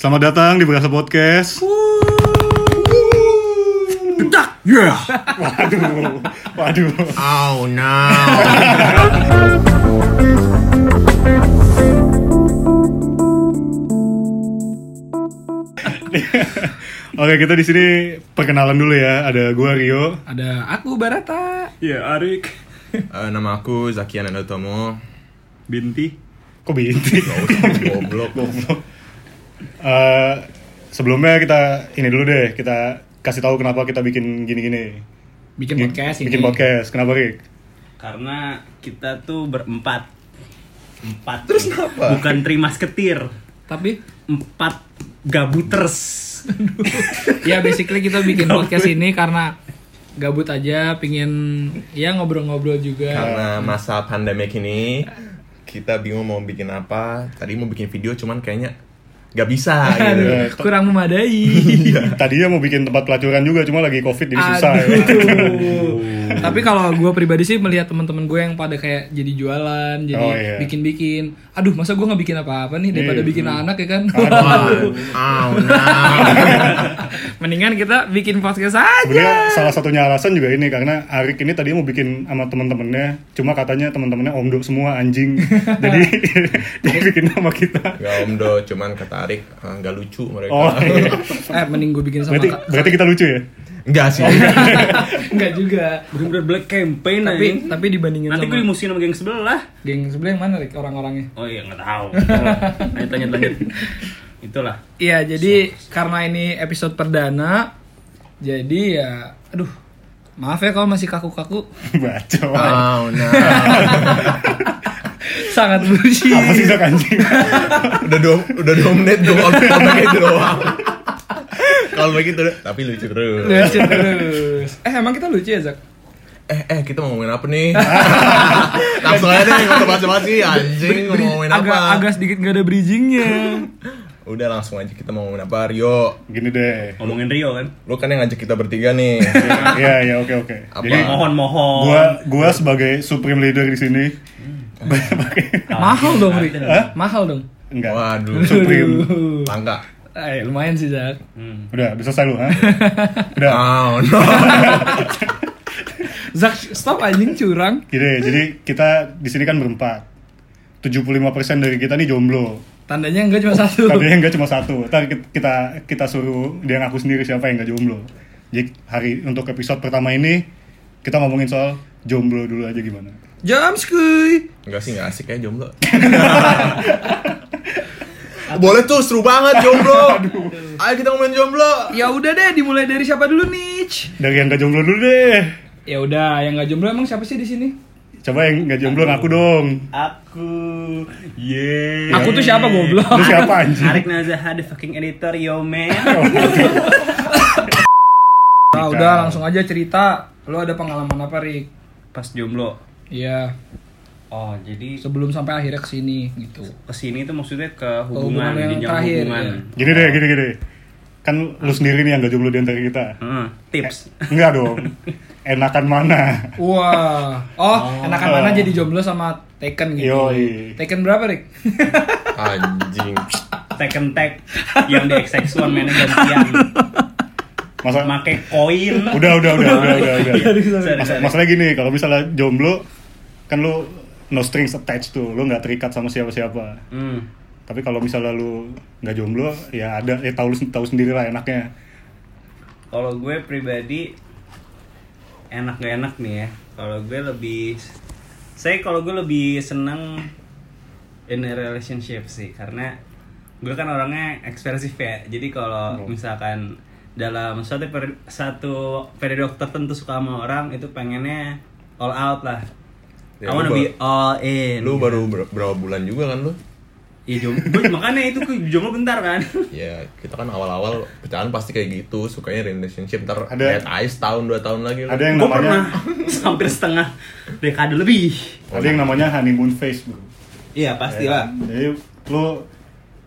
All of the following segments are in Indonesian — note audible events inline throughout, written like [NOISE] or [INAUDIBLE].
Selamat datang di Berasa Podcast. Dedak. Yeah. Waduh. Waduh. Oh no. Oke, kita di sini perkenalan dulu ya. Ada gua Rio. Ada aku Barata. Iya, Arik. [LAUGHS] Eh, nama aku Zakian Anatomo. Binti. Kok binti? Goblok. Eh, sebelumnya kita ini dulu deh, kita kasih tahu kenapa kita bikin gini-gini. Bikin podcast ini. Bikin podcast. Kenapa, Rik? Karena kita tuh berempat. Empat. Terus kenapa? Bukan trimas ketir. Tapi Empat gabuters. ya basically kita [LAUGHS] bikin podcast ini karena gabut aja, pingin ya ngobrol-ngobrol juga. Karena masa pandemi ini kita bingung mau bikin apa. Tadi mau bikin video cuman kayaknya nggak bisa gitu. Iya. Aduh, kurang memadai. Tadinya mau bikin tempat pelacuran juga, cuma lagi covid [LAUGHS] jadi susah ya. Aduh. Tapi kalau gue pribadi sih melihat teman-teman gue yang pada kayak jadi jualan, jadi Oh, iya. bikin-bikin. Aduh, masa gue nggak bikin apa-apa nih daripada Iya. bikin anak ya kan? Oh no. [LAUGHS] Mendingan kita bikin podcast aja. Sebenarnya salah satunya alasan juga ini karena Arik ini tadi mau bikin sama teman-temannya, cuma katanya teman-temannya omdo semua anjing. Jadi [LAUGHS] dia bikin sama kita. Gak omdo, Ya, cuman kata Arik eh, nggak lucu mereka. Oh, iya. Eh, mending gue bikin sama berarti Kak. [LAUGHS] berarti kita lucu ya? [LAUGHS] Enggak sih. Enggak juga. Bener-bener black campaign Tapi anjing. tapi dibandingin Nanti gue sama dimusuhin sama geng sebelah. geng sebelah yang mana Rik, orang-orangnya? Oh iya, nggak tahu. Lanjut, lanjut, lanjut. Itulah. Iya, jadi karena ini episode perdana, jadi ya, aduh, maaf ya kalau masih kaku-kaku, [LAUGHS] Baca. Oh no. sangat bullshit. Apa sih Zak anjing? Udah dua udah dua menit dong omdo gitu doang. Kalau begitu udah- tapi lucu terus. [LAUGHS] Lucu terus. Eh, emang kita lucu ya, Zak? eh eh kita mau ngomongin apa nih [LAUGHS] langsung aja deh nggak usah basa-basi anjing mau ngomongin agak, apa agak sedikit gak ada [LAUGHS] bridgingnya. udah langsung aja kita mau ngomongin apa Rio Gini deh. Ngomongin Rio kan. lu kan yang ngajak kita bertiga nih Iya, iya, oke, oke. Apa? Jadi Mohon-mohon. gua gua sebagai supreme leader di sini Hmm. [LAUGHS] Mahal dong, Ri. Mahal dong. enggak. waduh Supreme. langka Eh, lumayan sih, Zak. Hmm. Udah, udah selesai lu, ha? Udah. oh no Zak, stop anjing curang. Gini, jadi kita di sini kan berempat. 75% dari kita nih jomblo. Tandanya enggak cuma satu. Tapi yang nggak cuma satu. Ntar ki- kita kita suruh dia ngaku sendiri siapa yang nggak jomblo. Jadi hari untuk episode pertama ini kita ngomongin soal jomblo dulu aja gimana. Jamskuy. Enggak sih nggak asik ya jomblo boleh tuh seru banget jomblo ayo kita ngomongin jomblo Ya udah deh, dimulai dari siapa dulu, Nich? Dari yang nggak jomblo dulu deh. Ya udah, yang gak jomblo emang siapa sih di sini? Coba yang nggak jomblo ngaku dong. Aku, yeay. Aku tuh siapa, goblok? Lu siapa anjing? Arik Nazaha, the fucking editor, yo man. Nah, Cerita. udah langsung aja cerita. Lo ada pengalaman apa, Rik? Pas jomblo. Iya, Oh, jadi sebelum sampai akhirnya ke sini gitu. kesini tuh maksudnya ke hubungan hubungan, yang jenjang terakhir, hubungan. ya. Gini deh, gini gini. Kan lu sendiri nih yang nggak jomblo di antara kita. Hmm, tips. Enggak dong. Enakan mana? Wah. Oh, enakan mana jadi jomblo sama Taken gitu. Yoi. Taken berapa, Rik? anjing Take and tag yang di XX1 mainnya gantian. Masa Make Iya, koin. udah udah udah udah udah. udah. [LAUGHS] Sorry, Mas- sorry. masalahnya gini, kalau misalnya jomblo kan lu no strings attached tuh, lu nggak terikat sama siapa-siapa. Hmm. tapi kalau misalnya lu nggak jomblo ya ada ya tahu tahu sendiri lah enaknya Kalau gue pribadi enak gak enak nih ya. Kalau gue lebih saya kalau gue lebih seneng in a relationship sih karena gue kan orangnya ekspresif ya. Jadi kalau misalkan dalam suatu peri- satu periode waktu tertentu suka sama orang itu pengennya all out lah. Ya, I wanna lu be all in. lu baru ber- berapa bulan juga kan lu Iya jomblo, Gua- [LAUGHS] makanya itu gue jomblo bentar kan. ya kita kan awal-awal pecahan pasti kayak gitu sukanya relationship ntar Ada- ada ice tahun dua tahun lagi ada yang Gue namanya pernah [LAUGHS] hampir setengah dekade lebih. ada yang namanya honeymoon phase bro Iya pasti lah. jadi lu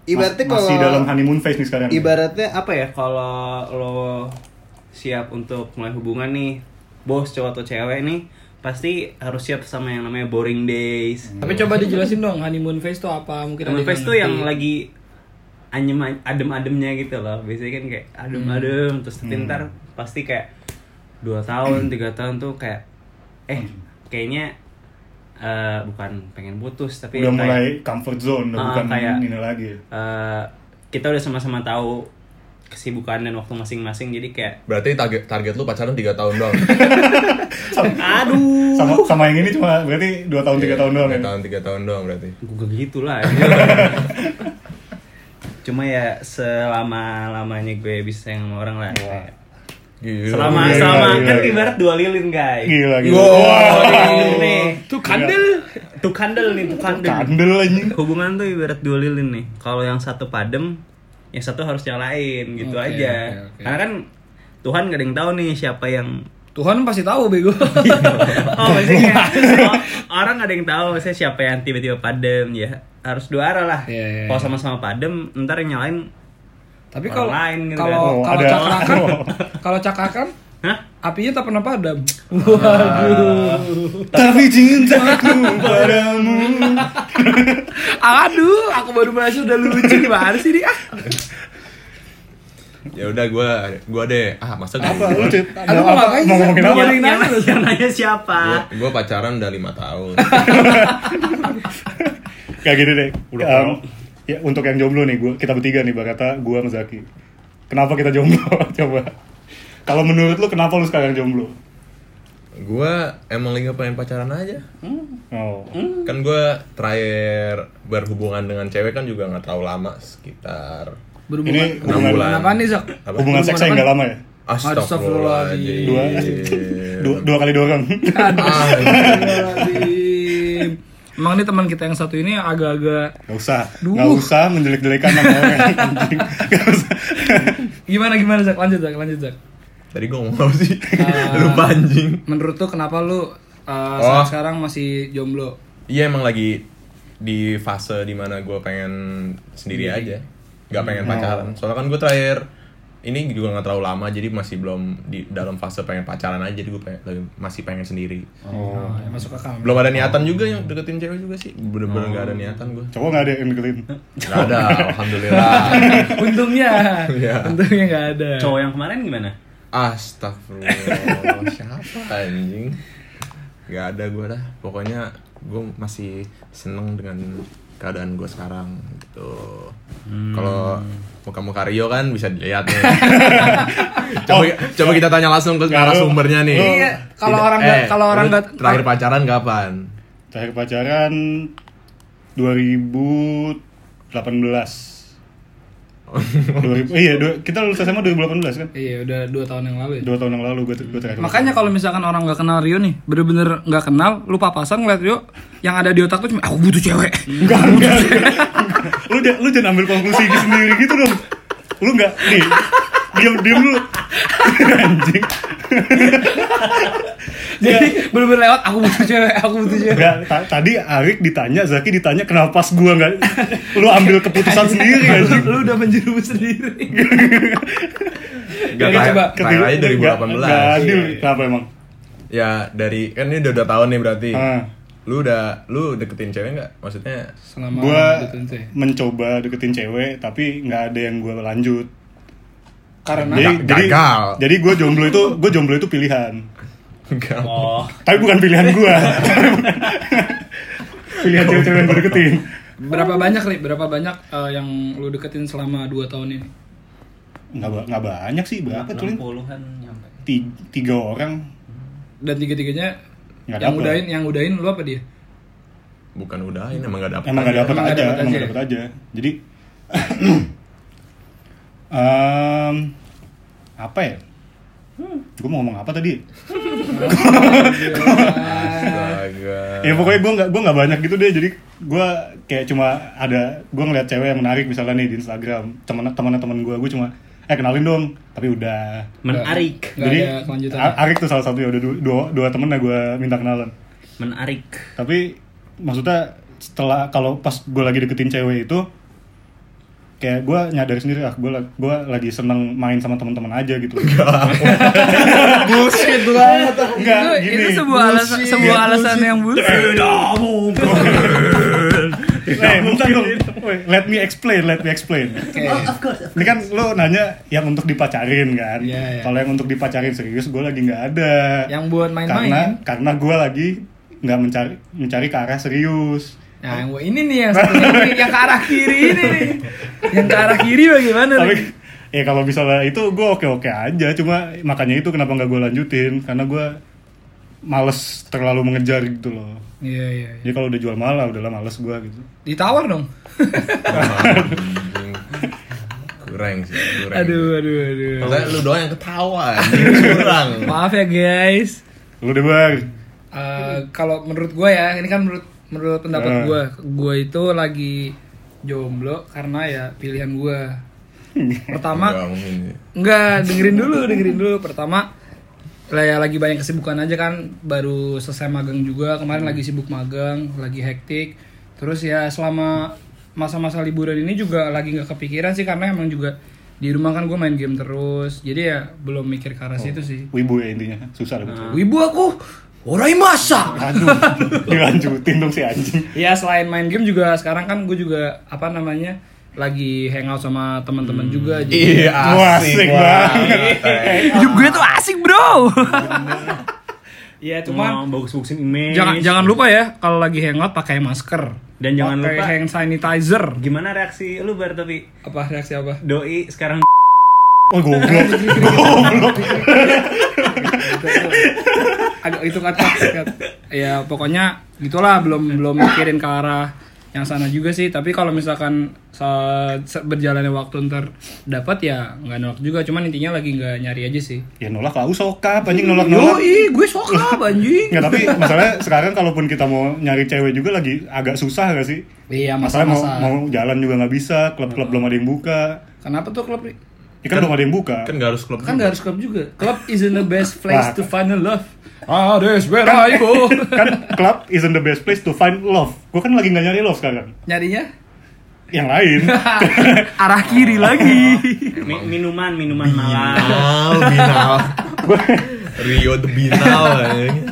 Ibaratnya mas- masih kalau- dalam honeymoon phase nih sekarang Ibaratnya apa ya kalau lo siap untuk mulai hubungan nih, bos cowok atau cewek nih pasti harus siap sama yang namanya boring days. Hmm. Tapi coba dijelasin dong honeymoon phase tuh apa? Mungkin ada Honeymoon phase tuh nggak yang ngerti. lagi anyem adem-ademnya gitu loh biasanya kan kayak adem-adem Hmm. terus tapi ntar pasti kayak dua [CLEARS THROAT] tahun tiga tahun tuh kayak eh Hmm. kayaknya eh, bukan pengen putus tapi udah kayak, mulai comfort zone udah Ah, bukan kayak- ini lagi eh, kita udah sama-sama tahu kesibukan dan waktu masing-masing jadi kayak [LAUGHS] Berarti target target lu pacaran 3 tahun doang. aduh sama sama yang ini cuma berarti dua [LAUGHS] tahun Iya. tiga tahun doang ya 3 tahun 3 tahun doang berarti. Gue gitu lah. Cuma ya selama lamanya gue bisa yang sama orang lah. Kayak Gila. Selama Gila, selama gila, kan gila. ibarat dua lilin guys. gila gila Wow. Oh, Wah, iya, Lilin nih. Tuh Iya. kandel. Tuh kandel nih, tuh kandel. kandel anjing Hubungan tuh ibarat dua lilin nih. Kalau yang satu padem, yang satu harus nyalain gitu Oke, aja. oke, oke. Karena kan Tuhan gak ada yang tahu nih siapa yang Tuhan pasti tahu bego. Iya. Oh, [LAUGHS] maksudnya kayak, oh, orang ada yang tahu maksudnya siapa yang tiba-tiba padem ya. Harus dua arah lah. Iya, iya, Kalau iya. sama-sama padem, ntar yang nyalain [LAUGHS] Tapi Orang kalau lain gitu kalau kan. Oh, kalau ada. cakrakan, [LAUGHS] Oh. kalau cakrakan Hah? apinya tak pernah padam. Waduh. tapi cintaku padamu Aduh, aku baru merasa udah lucu gimana sih [LAUGHS] dia? Ya udah gua gua deh. Ah, masa apa lu gua, Cip? Aduh, Mau- apa- makanya mau ngomongin gua apa balik- Paling yang, nanya lu, yang nanya gua- siapa? gua pacaran udah 5 tahun. [LAUGHS] kayak gini deh Udah Em, tahu. ya untuk yang jomblo nih gua kita bertiga nih Barata gua sama Zaki kenapa kita jomblo [LAUGHS] coba kalau menurut lu kenapa lu sekarang jomblo gua emang lagi pengen pacaran aja. oh Kan gua terakhir berhubungan dengan cewek kan juga nggak terlalu lama sekitar Berhubungan Ini hubungan- apa nih, Sok? Apa? hubungan seksnya nggak lama ya Astagfirullahaladzim. dua Iya, dua, dua kali dorong [LAUGHS] Astagfirullahaladzim. Emang ini teman kita yang satu ini agak-agak Gak usah, Duh. gak usah menjelek-jelekan nama orang anjing. Gak usah. gimana gimana Zak lanjut Zak lanjut Zak. Tadi gua ngomong apa sih? Ah. Lupa anjing. Menurut tuh kenapa lu uh, Oh. saat sekarang masih jomblo? Iya emang lagi di fase dimana gue pengen sendiri aja, nggak pengen pacaran. Soalnya kan gue terakhir ini juga nggak terlalu lama, jadi masih belum di dalam fase pengen pacaran aja. Jadi gue masih pengen sendiri. Oh, ya masuk akal. Belum ada niatan juga yang deketin cewek juga sih. Bener-bener nggak ada niatan gue. Cowok gak ada yang deketin. Hmm. Nggak [LAUGHS] ada, alhamdulillah. [LAUGHS] Untungnya, Iya. untungnya nggak ada. Cowok yang kemarin gimana? [LAUGHS] Astagfirullah, siapa anjing? Nggak ada gue dah. Pokoknya gue masih seneng dengan keadaan gue sekarang gitu. Hmm. Kalau muka-muka Rio kan bisa dilihat [LAUGHS] nih. coba, coba kita tanya langsung ke narasumbernya Oh. nih. Lu- Iya, kalau orang Tidak- Eh, nggak- kalau orang lu nggak- terakhir pacaran kapan? Terakhir pacaran 2018. 2000, iya, dua- kita lulus SMA 2018 kan? Iya, udah dua tahun yang lalu. Ya? Dua tahun yang lalu gue, gue terakhir. Makanya kalau misalkan orang nggak kenal Rio nih, bener-bener nggak kenal, lu papasan ngeliat Rio, yang ada di otak tuh cuma aku butuh cewek. Enggak, enggak. lu, jangan- lu jangan ambil konklusi sendiri gitu dong. Lu enggak nih. Diam diam dulu. Anjing. [LAUGHS] Jadi bener-bener lewat aku butuh cewek, aku butuh cewek. Enggak, ta- tadi Arik ditanya, Zaki ditanya kenapa pas gua enggak lu ambil keputusan sendiri anjing. lu udah menjerumus sendiri. Gak Jadi coba- terakhir aja Gak 2018. adil. Kenapa emang? Ya dari kan ini udah dua tahun nih berarti. Ah. Lu udah lu deketin cewek nggak? Maksudnya Selama Gua deketin cewek. mencoba deketin cewek tapi nggak ada yang gua lanjut. karena Jadi jadi Gagal. jadi gue jomblo itu gue jomblo itu pilihan. enggak. Oh, Tapi bukan pilihan gua. pilihan cewek-cewek yang gue deketin. berapa banyak nih? Berapa banyak eh, yang lu deketin selama 2 tahun ini? Nggak, ba- nggak banyak sih berapa cuy? 60-an nyampe. Tiga, tiga orang. Dan tiga-tiganya Nggak yang dapet. udahin, yang udahin lu apa dia? Bukan udahin emang gak dapet Emang nggak dapet Emang nggak aja, dapet emang aja nggak ya? dapet aja. Jadi [CLEARS THROAT] em, apa ya? Hmm. Gue mau ngomong apa tadi? Astaga. Eh. ya pokoknya gue nggak gue nggak banyak gitu deh jadi gue kayak cuma ada gue ngeliat cewek yang menarik misalnya nih di Instagram temen temen temen gue gue cuma eh kenalin dong tapi udah Menarik, Nggak jadi ada kelanjutan. A- Arik tuh salah satu ya udah du- dua dua temennya gue minta kenalan menarik. tapi maksudnya setelah kalau pas gue lagi deketin cewek itu kayak gue nyadar sendiri ah gue gua lagi seneng main sama teman-teman aja [LAUGHS] gitu Bullshit banget. Nggak, itu, gini. Iya, itu sebuah alasan sebuah alasan yang bullshit. gitu. Eh, bentar dong. Wait, let me explain, let me explain. Oh, of course. Ini kan lo nanya yang untuk dipacarin kan. Iya, iya. Kalau yang untuk dipacarin serius gue lagi nggak ada. Yang buat Karena main-main. karena gue lagi nggak mencari mencari ke arah serius. Nah, yang gua- ini nih yang satunya nih, yang ke arah kiri ini nih. Yang ke arah kiri bagaimana nih? Tapi [LAUGHS] ya kalau misalnya itu gue oke oke aja. Cuma makanya itu kenapa nggak gue lanjutin karena gue males terlalu mengejar gitu loh. Iya, iya. iya. Jadi kalau udah jual mahal lah, udahlah males gue gitu. Ditawar dong. Anjing. kurang sih kurang Aduh, aduh, aduh. Maksudnya lu doang yang [LAUGHS] ketawa anjing. kurang Maaf ya, guys. Lu deh bar. Eh, kalau menurut gue ya ini kan menurut menurut Eh. pendapat gue gue itu lagi jomblo karena ya pilihan gue pertama Nggak mungkin sih. Enggak, dengerin dulu, dengerin dulu. Pertama, lah ya lagi banyak kesibukan aja kan, baru selesai magang juga. Kemarin lagi sibuk magang, lagi hektik. Terus ya selama masa-masa liburan ini juga lagi nggak kepikiran sih karena emang juga di rumah kan gue main game terus. Jadi ya belum mikir ke arah situ sih. Wibu ya intinya. Susah deh. Wibu aku, orai masa. Aduh, [LAUGHS] dilanjutin dong si anjing. Ya selain main game juga sekarang kan gue juga apa namanya lagi hangout sama teman-teman juga. Jadi Iya, Wah, asik banget. hidup gue tuh asik bro. Iya cuman Cuma bagus-bagusin image. Jangan jangan lupa ya kalau lagi hangout pakai masker Dan jangan Pakai lupa- hand sanitizer. Gimana reaksi lu bar tapi Apa reaksi apa? doi sekarang Oh goblok. Agak itu kan kata ya pokoknya gitulah belum belum mikirin ke arah yang sana juga sih tapi kalau misalkan saat berjalannya waktu ntar dapat ya nggak nolak juga cuman intinya lagi nggak nyari aja sih ya nolak lah, sokap anjing nolak-nolak. Yoi, gue sokap anjing Nggak, tapi masalahnya sekarang kalaupun kita mau nyari cewek juga lagi agak susah gak sih? iya Masalahnya mau, masa-masa mau jalan juga nggak bisa, klub-klub belum ada yang buka. kenapa tuh klub Ri? Ya kan, belum ada yang buka. kan nggak harus klub kan nggak harus klub juga club isn't the best Wah. place to find a love ah that's where I go kan club isn't the best place to find love. Gue kan lagi nggak nyari love sekarang. [LAUGHS] nyarinya Yang lain. arah kiri lagi. mi- minuman Iya. minuman malam. binal [LAUGHS] binal Rio the binal anjing.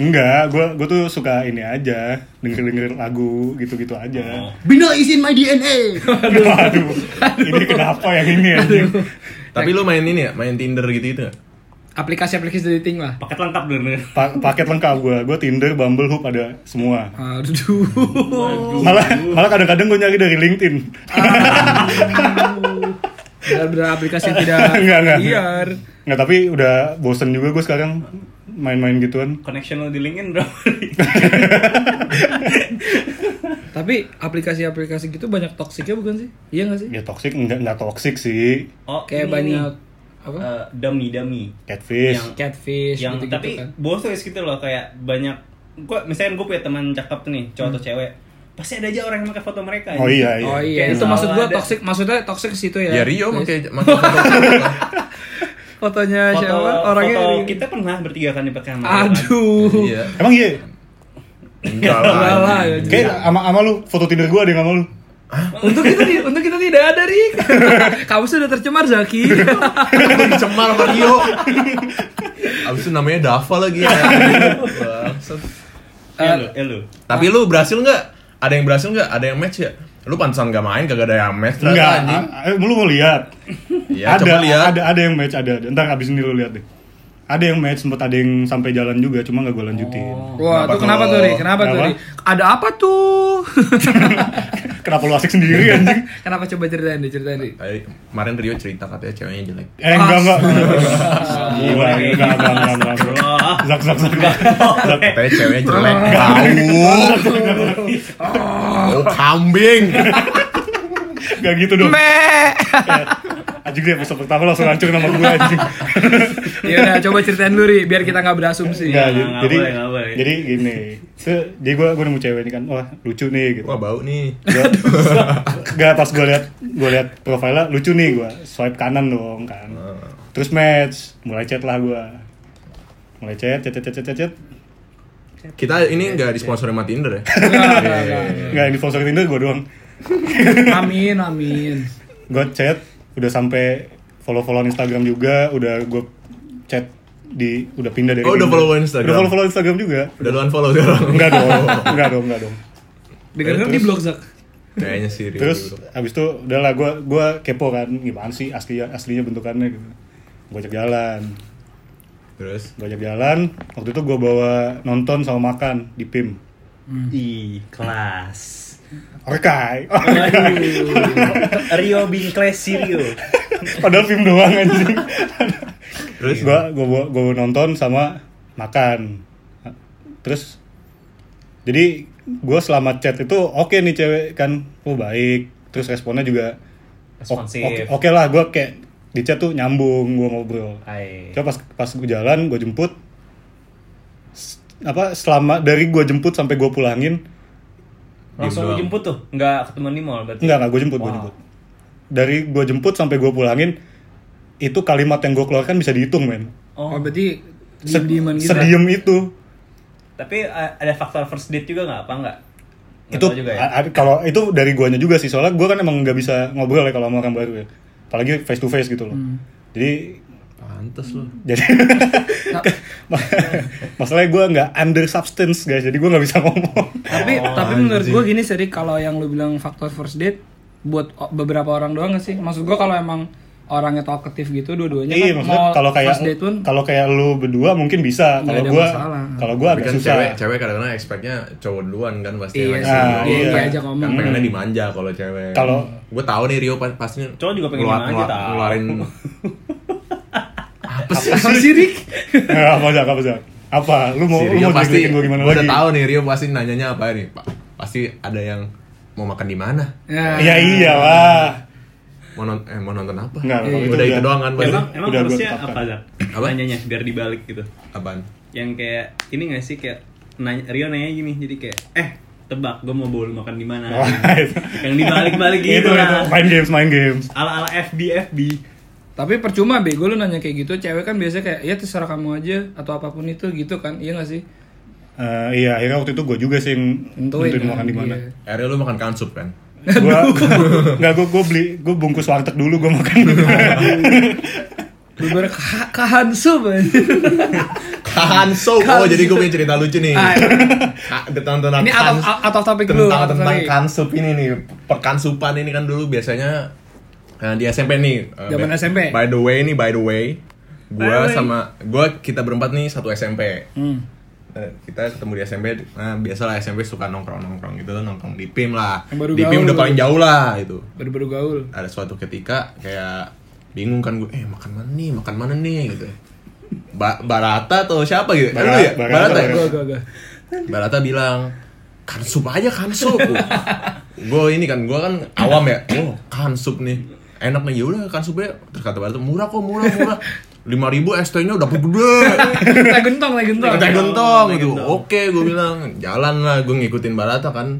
Enggak, gue gue tuh suka ini aja, denger-denger lagu gitu-gitu aja. Bina is in my DNA. Aduh, ini kenapa yang ini ya? anjing? tapi lu main ini ya main Tinder gitu gitu Aplikasi-aplikasi dating lah. Paket lengkap bener. Pa- paket lengkap gue, gue Tinder, Bumble, Hoop ada semua. Aduh. Malah malah kadang-kadang gue nyari dari LinkedIn. Benar-benar aplikasi [LAUGHS] [LAUGHS] tidak Enggak, enggak. liar. Nggak, tapi udah bosen juga gue sekarang main-main gituan. Connection lu di LinkedIn bro. [LAUGHS] Tapi aplikasi-aplikasi gitu banyak toksiknya bukan sih? Iya nggak sih? Ya toxic, nggak, nggak toxic sih. Oh, Kayak ini banyak nih, apa? eh, dummy dummy. Catfish. Yang- catfish yang gitu-gitu tapi kan. bosos gitu loh kayak banyak gua misalnya gue punya teman cakep nih cowok Hmm. atau cewek pasti ada aja orang yang pakai foto mereka ya. Oh anjing. iya, iya. Oh iya, Kayak itu maksud gua selalu ada. toksik, maksudnya toksik ke situ ya. ya Rio Guys. pakai [LAUGHS] pakai fotonya foto, siapa? Orangnya foto Rio. kita pernah bertiga kan dipakai sama orang. Aduh. iya Emang iya? enggak Enggak lah, lah ya. anjing. Kayak ama ama lu foto Tinder gue ada yang sama lu. Untuk kita ti- untuk kita tidak ada, Rik. Kamu sudah tercemar, Zaki. dicemar sama Rio abis itu namanya Dava lagi ya Bangsat. ya Ah. lu ya lu tapi lu berhasil nggak ada yang berhasil nggak ada yang match ya lu pantesan gak main kagak ada yang match ternyata, Enggak, anjing. a- a- lu mau lihat. Iya, ada, coba lihat. ada ada yang match ada, ada. Ntar abis ini lu lihat deh. Ada yang match sempat ada yang sampai jalan juga, cuma nggak gue lanjutin. Oh. Wah, Kenapa tuh kenapa tuh? tuh, Ri? Kenapa tuh, Kenapa? Ri? Ada apa tuh? [LAUGHS] [LAUGHS] Kenapa lu asik sendiri anjing? Kenapa coba ceritain deh, ceritain deh. Tadi, kemarin Rio cerita katanya ceweknya jelek Eh, enggak, enggak. Gila, Gila, enggak, enggak, enggak, enggak, Astagfirullah. Zak, zak, zak. Zak. katanya ceweknya [LAUGHS] jelek [LAUGHS] tahu oh, kambing Enggak gitu dong. Me. Anjing deh, episode pertama langsung hancur nama gue anjing. Ya udah coba ceritain dulu Ri, biar kita nggak berasumsi. Enggak, Nggak, jadi, Iya, nggak jadi, boleh, nggak boleh. jadi gini. Se, jadi gue gue nemu cewek ini kan, wah lucu nih gitu. wah bau nih Gua- Gak pas gue liat gue liat profilnya lucu nih gue swipe kanan dong kan. Terus match, mulai chat lah gue. Mulai chat, chat, chat, chat, chat, chat. kita ini nggak disponsori sama Tinder ya Nggak, nggak, nggak. Gak yang di Tinder gue doang. Amin, amin. Gue chat, udah sampai follow-followan Instagram juga, udah gue chat di udah pindah dari Oh, udah Tinder. follow-followan Instagram. Oh. Udah follow-followan Instagram juga. udah lu unfollow sekarang Enggak dong, enggak dong, enggak dong. Dengar nggak di blog Zak? Kayaknya sih Rio Terus dulu. abis itu udah lah gue gua kepo kan gimana sih asli aslinya bentukannya gitu. Gue ajak jalan, Terus gue ajak jalan. Waktu itu gue bawa nonton sama makan di PIM. Hmm. Ih, kelas. Orkai, Waduh. [LAUGHS] Rio Bingkles Sirio. [LAUGHS] padahal PIM doang anjing. terus gue gue gue nonton sama makan. Terus jadi gue selama chat itu oke nih cewek kan, oh baik. Terus responnya juga o- Responsif. oke oke lah gue kayak di chat tuh nyambung gue ngobrol. Hai. Coba pas pas gue jalan, gue jemput. S- apa selama dari gue jemput sampai gue pulangin, Langsung lu Diem doang. jemput tuh? Enggak ketemu di mall berarti? enggak enggak gue jemput, gue Wow. jemput. Dari gue jemput sampai gue pulangin, itu kalimat yang gue keluarkan bisa dihitung men. Oh, Oh, berarti Se- diem-dieman gitu. Sediem itu. tapi uh, ada faktor first date juga nggak apa enggak? Nggak itu tahu juga ya. a- a- kalau itu dari guanya juga sih soalnya gua kan emang nggak bisa ngobrol ya kalau sama orang baru ya apalagi face to face gitu loh Hmm. jadi [LAUGHS] pantes lu. [LAUGHS] jadi ma- masalahnya gua nggak under substance guys jadi gua nggak bisa ngomong Tapi Oh, tapi menurut anjing. gue gini sih kalau yang lu bilang faktor first date buat o- beberapa orang doang gak sih? Maksud gue kalau emang orangnya talkative gitu dua-duanya iya kan maksudnya mau kalau kayak first date pun [LAUGHS] kalau kayak lu berdua mungkin bisa Nggak kalau ada gua masalah. kalau gua Tapi agak kan susah cewek cewek kadang-kadang expectnya cowok duluan kan pasti Iya yang sih, langsung Ah, duluan iya. kan. Iya aja ngomong. Kan pengennya dimanja kalau cewek Kalau- gue tahu nih Rio pa- pasti Cowok juga pengen ngeluar- dimanja, ngeluar- tahu. ngeluarin [LAUGHS] apa sih Apa sih, Rik? [LAUGHS] Ah, apa Zak? apa Zak? apa lu mau si lu Rio mau pasti jelek-jelekin gua gimana gua lagi udah tahu nih Rio pasti nanyanya apa nih Pak pasti ada yang mau makan di mana Ya. iya iya lah mau nonton eh, mau nonton apa Nggak, kalau gitu udah itu udah. doang kan pasti Ya, emang emang Udah gua harusnya tetapkan. apa Zak? Apa? Nanyanya biar dibalik gitu. apaan Yang kayak ini nggak sih kayak nanya, Rio nanya gini jadi kayak eh tebak gue mau bawa lu makan [LAUGHS] di Nah. mana? yang dibalik-balik gitu Oh, iya. itu, itu lah. main games main games Ala-ala FB FB. Tapi percuma bego lu nanya kayak gitu, cewek kan biasanya kayak ya terserah kamu aja atau apapun itu gitu kan. Iya gak sih? Eh, iya akhirnya waktu itu gue juga sih yang Tentuin nentuin kan, makan di mana [LAUGHS] iya. Ariel lu makan kansup kan gua nggak gua gua beli gua bungkus warteg dulu gua makan [LAUGHS] Bener kahansu kansup oh jadi gue punya cerita lucu nih Ah, Ka- tentang tentang Kan. Ah, iya. Ini out of, out of topic dulu. Kan. tentang out of tentang topic. kansup ini nih perkansupan ini kan dulu biasanya eh, di SMP nih eh, Zaman by- SMP. by the way nih by the way By the gua way. sama gua kita berempat nih satu SMP Hmm. Eh, kita ketemu di SMP nah, biasalah SMP suka nongkrong nongkrong gitu nongkrong di PIM lah Yang baru di PIM gaul. udah paling jauh lah gitu. itu [LAUGHS] Baru-baru gaul. ada suatu ketika kayak bingung kan gue eh makan mana nih makan mana nih gitu Ba- Barata atau siapa gitu? Eh, lu Bara- ya? Barata, Barata, ya? Barata. Gua gua [LAUGHS] gua. Barata bilang kansup aja kan kansup gue ini kan gue kan awam ya oh kansup nih "Ya enak nih yaudah kansup aja kan terus kata Barata murah kok murah murah lima ribu ST nya udah gede Teh Eh, gentong, teh gentong. kita gentong gitu oke gue bilang jalan lah gue ngikutin Barata kan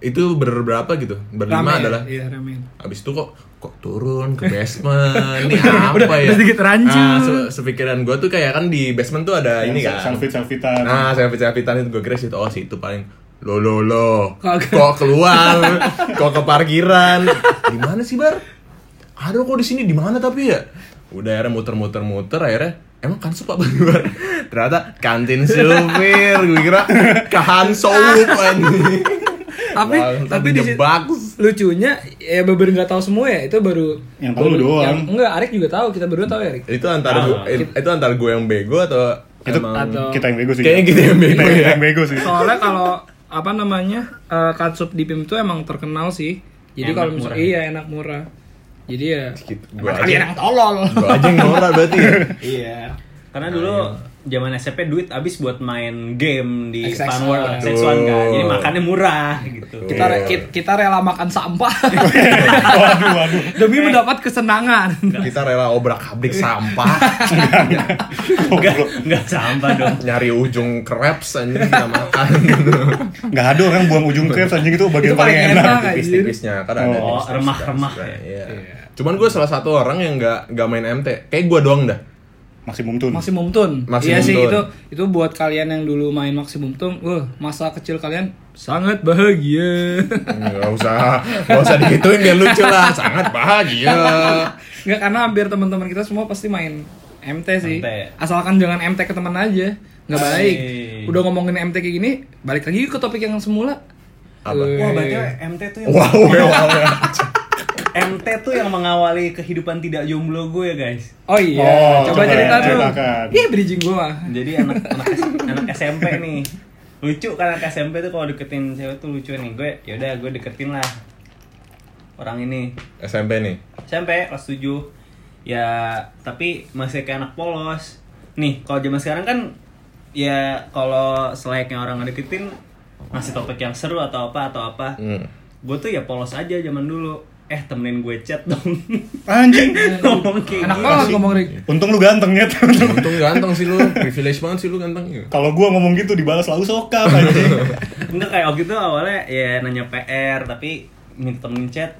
itu berberapa gitu berlima Ramen, adalah Iya, ramen. Abis itu kok kok turun ke basement [LAUGHS] ini apa ya? udah sedikit rancu. Nah, se- sepikiran gue tuh kayak kan di basement tuh ada ini kan. selfie selfiean Nah, saya pecah-pecahan itu gue kira situ oh situ paling lo lo lo Kagak. kok keluar kok ke parkiran di mana sih bar aduh kok di sini di mana tapi ya udah akhirnya muter-muter-muter akhirnya emang kan sup apa bar ternyata kantin supir gue kira kahan soup anjing. Tapi Bang, tapi di situ- dijebak. lucunya ya beber nggak tahu semua ya itu baru Yang tahu lu baru- doang. yang- enggak Arik juga tahu kita berdua tahu ya Arik itu Nah, antara Ah. gua, it- itu antara gue yang bego atau itu emang- Atau- kita yang bego sih Kayaknya kita yang bego kita ya. yang bego [LAUGHS] sih soalnya kalau apa namanya eh, katsup di PIM itu emang terkenal sih jadi Enak, kalau ya? misalnya murah. iya enak murah jadi ya Gitu, gua aja, kalian yang tolol gua aja yang norak [LAUGHS] berarti ya. Iya. Karena dulu Oh, iya. zaman SMP duit habis buat main game di XX1. Fun World XX1 kan. Jadi makannya murah gitu. Betul. kita, Iya. ki- kita rela makan [LAUGHS] sampah waduh waduh demi mendapat kesenangan kita rela obrak-abrik sampah Enggak enggak sampah dong. nyari ujung crepes anjing kita makan nggak ada orang buang ujung krebs anjing itu bagian Itu paling paling enak enak. anjir. tipis-tipisnya kan ada Oh, tipis-tipis remah-remah kan, ya. iya. cuman gue salah satu orang yang nggak nggak main MT kayak gue doang dah maksimum tun Maximum Tun. Maximum iya sih Tun. itu itu buat kalian yang dulu main Maximum Tun, wah masa kecil kalian sangat bahagia. [LAUGHS] nggak usah nggak usah digituin biar lucu lah sangat bahagia [LAUGHS] Nggak karena hampir teman-teman kita semua pasti main MT sih. MT. Asalkan jangan MT ke teman aja, nggak baik. Hai. Udah ngomongin MT kayak gini, balik lagi ke topik yang semula. Apa? Wah, berarti MT tuh yang Iya. Wow, wow, wow. [LAUGHS] MT tuh yang mengawali kehidupan tidak jomblo gue, guys. Oh iya, Oh, coba, coba cerita dulu. ceritakan. Iya bridging gua. Jadi anak anak, S- anak SMP nih. Lucu kan anak SMP tuh kalau deketin cewek tuh lucu nih. Gue yaudah gue deketin lah. Orang ini SMP nih. SMP kelas 7 ya tapi masih kayak anak polos nih kalau zaman sekarang kan ya kalau selayaknya orang ngedeketin masih topik yang seru atau apa atau apa Hmm. gue tuh ya polos aja zaman dulu eh temenin gue chat dong Anjing. [LAUGHS] ngomong kayak Anak gitu. polos ngomong Rick. Untung lu ganteng ya. Untung ganteng sih lu, privilege banget sih lu ganteng. Iya. Kalau gua ngomong gitu dibalas lalu sokap anjing. enggak kayak waktu itu awalnya ya nanya PR tapi minta temenin chat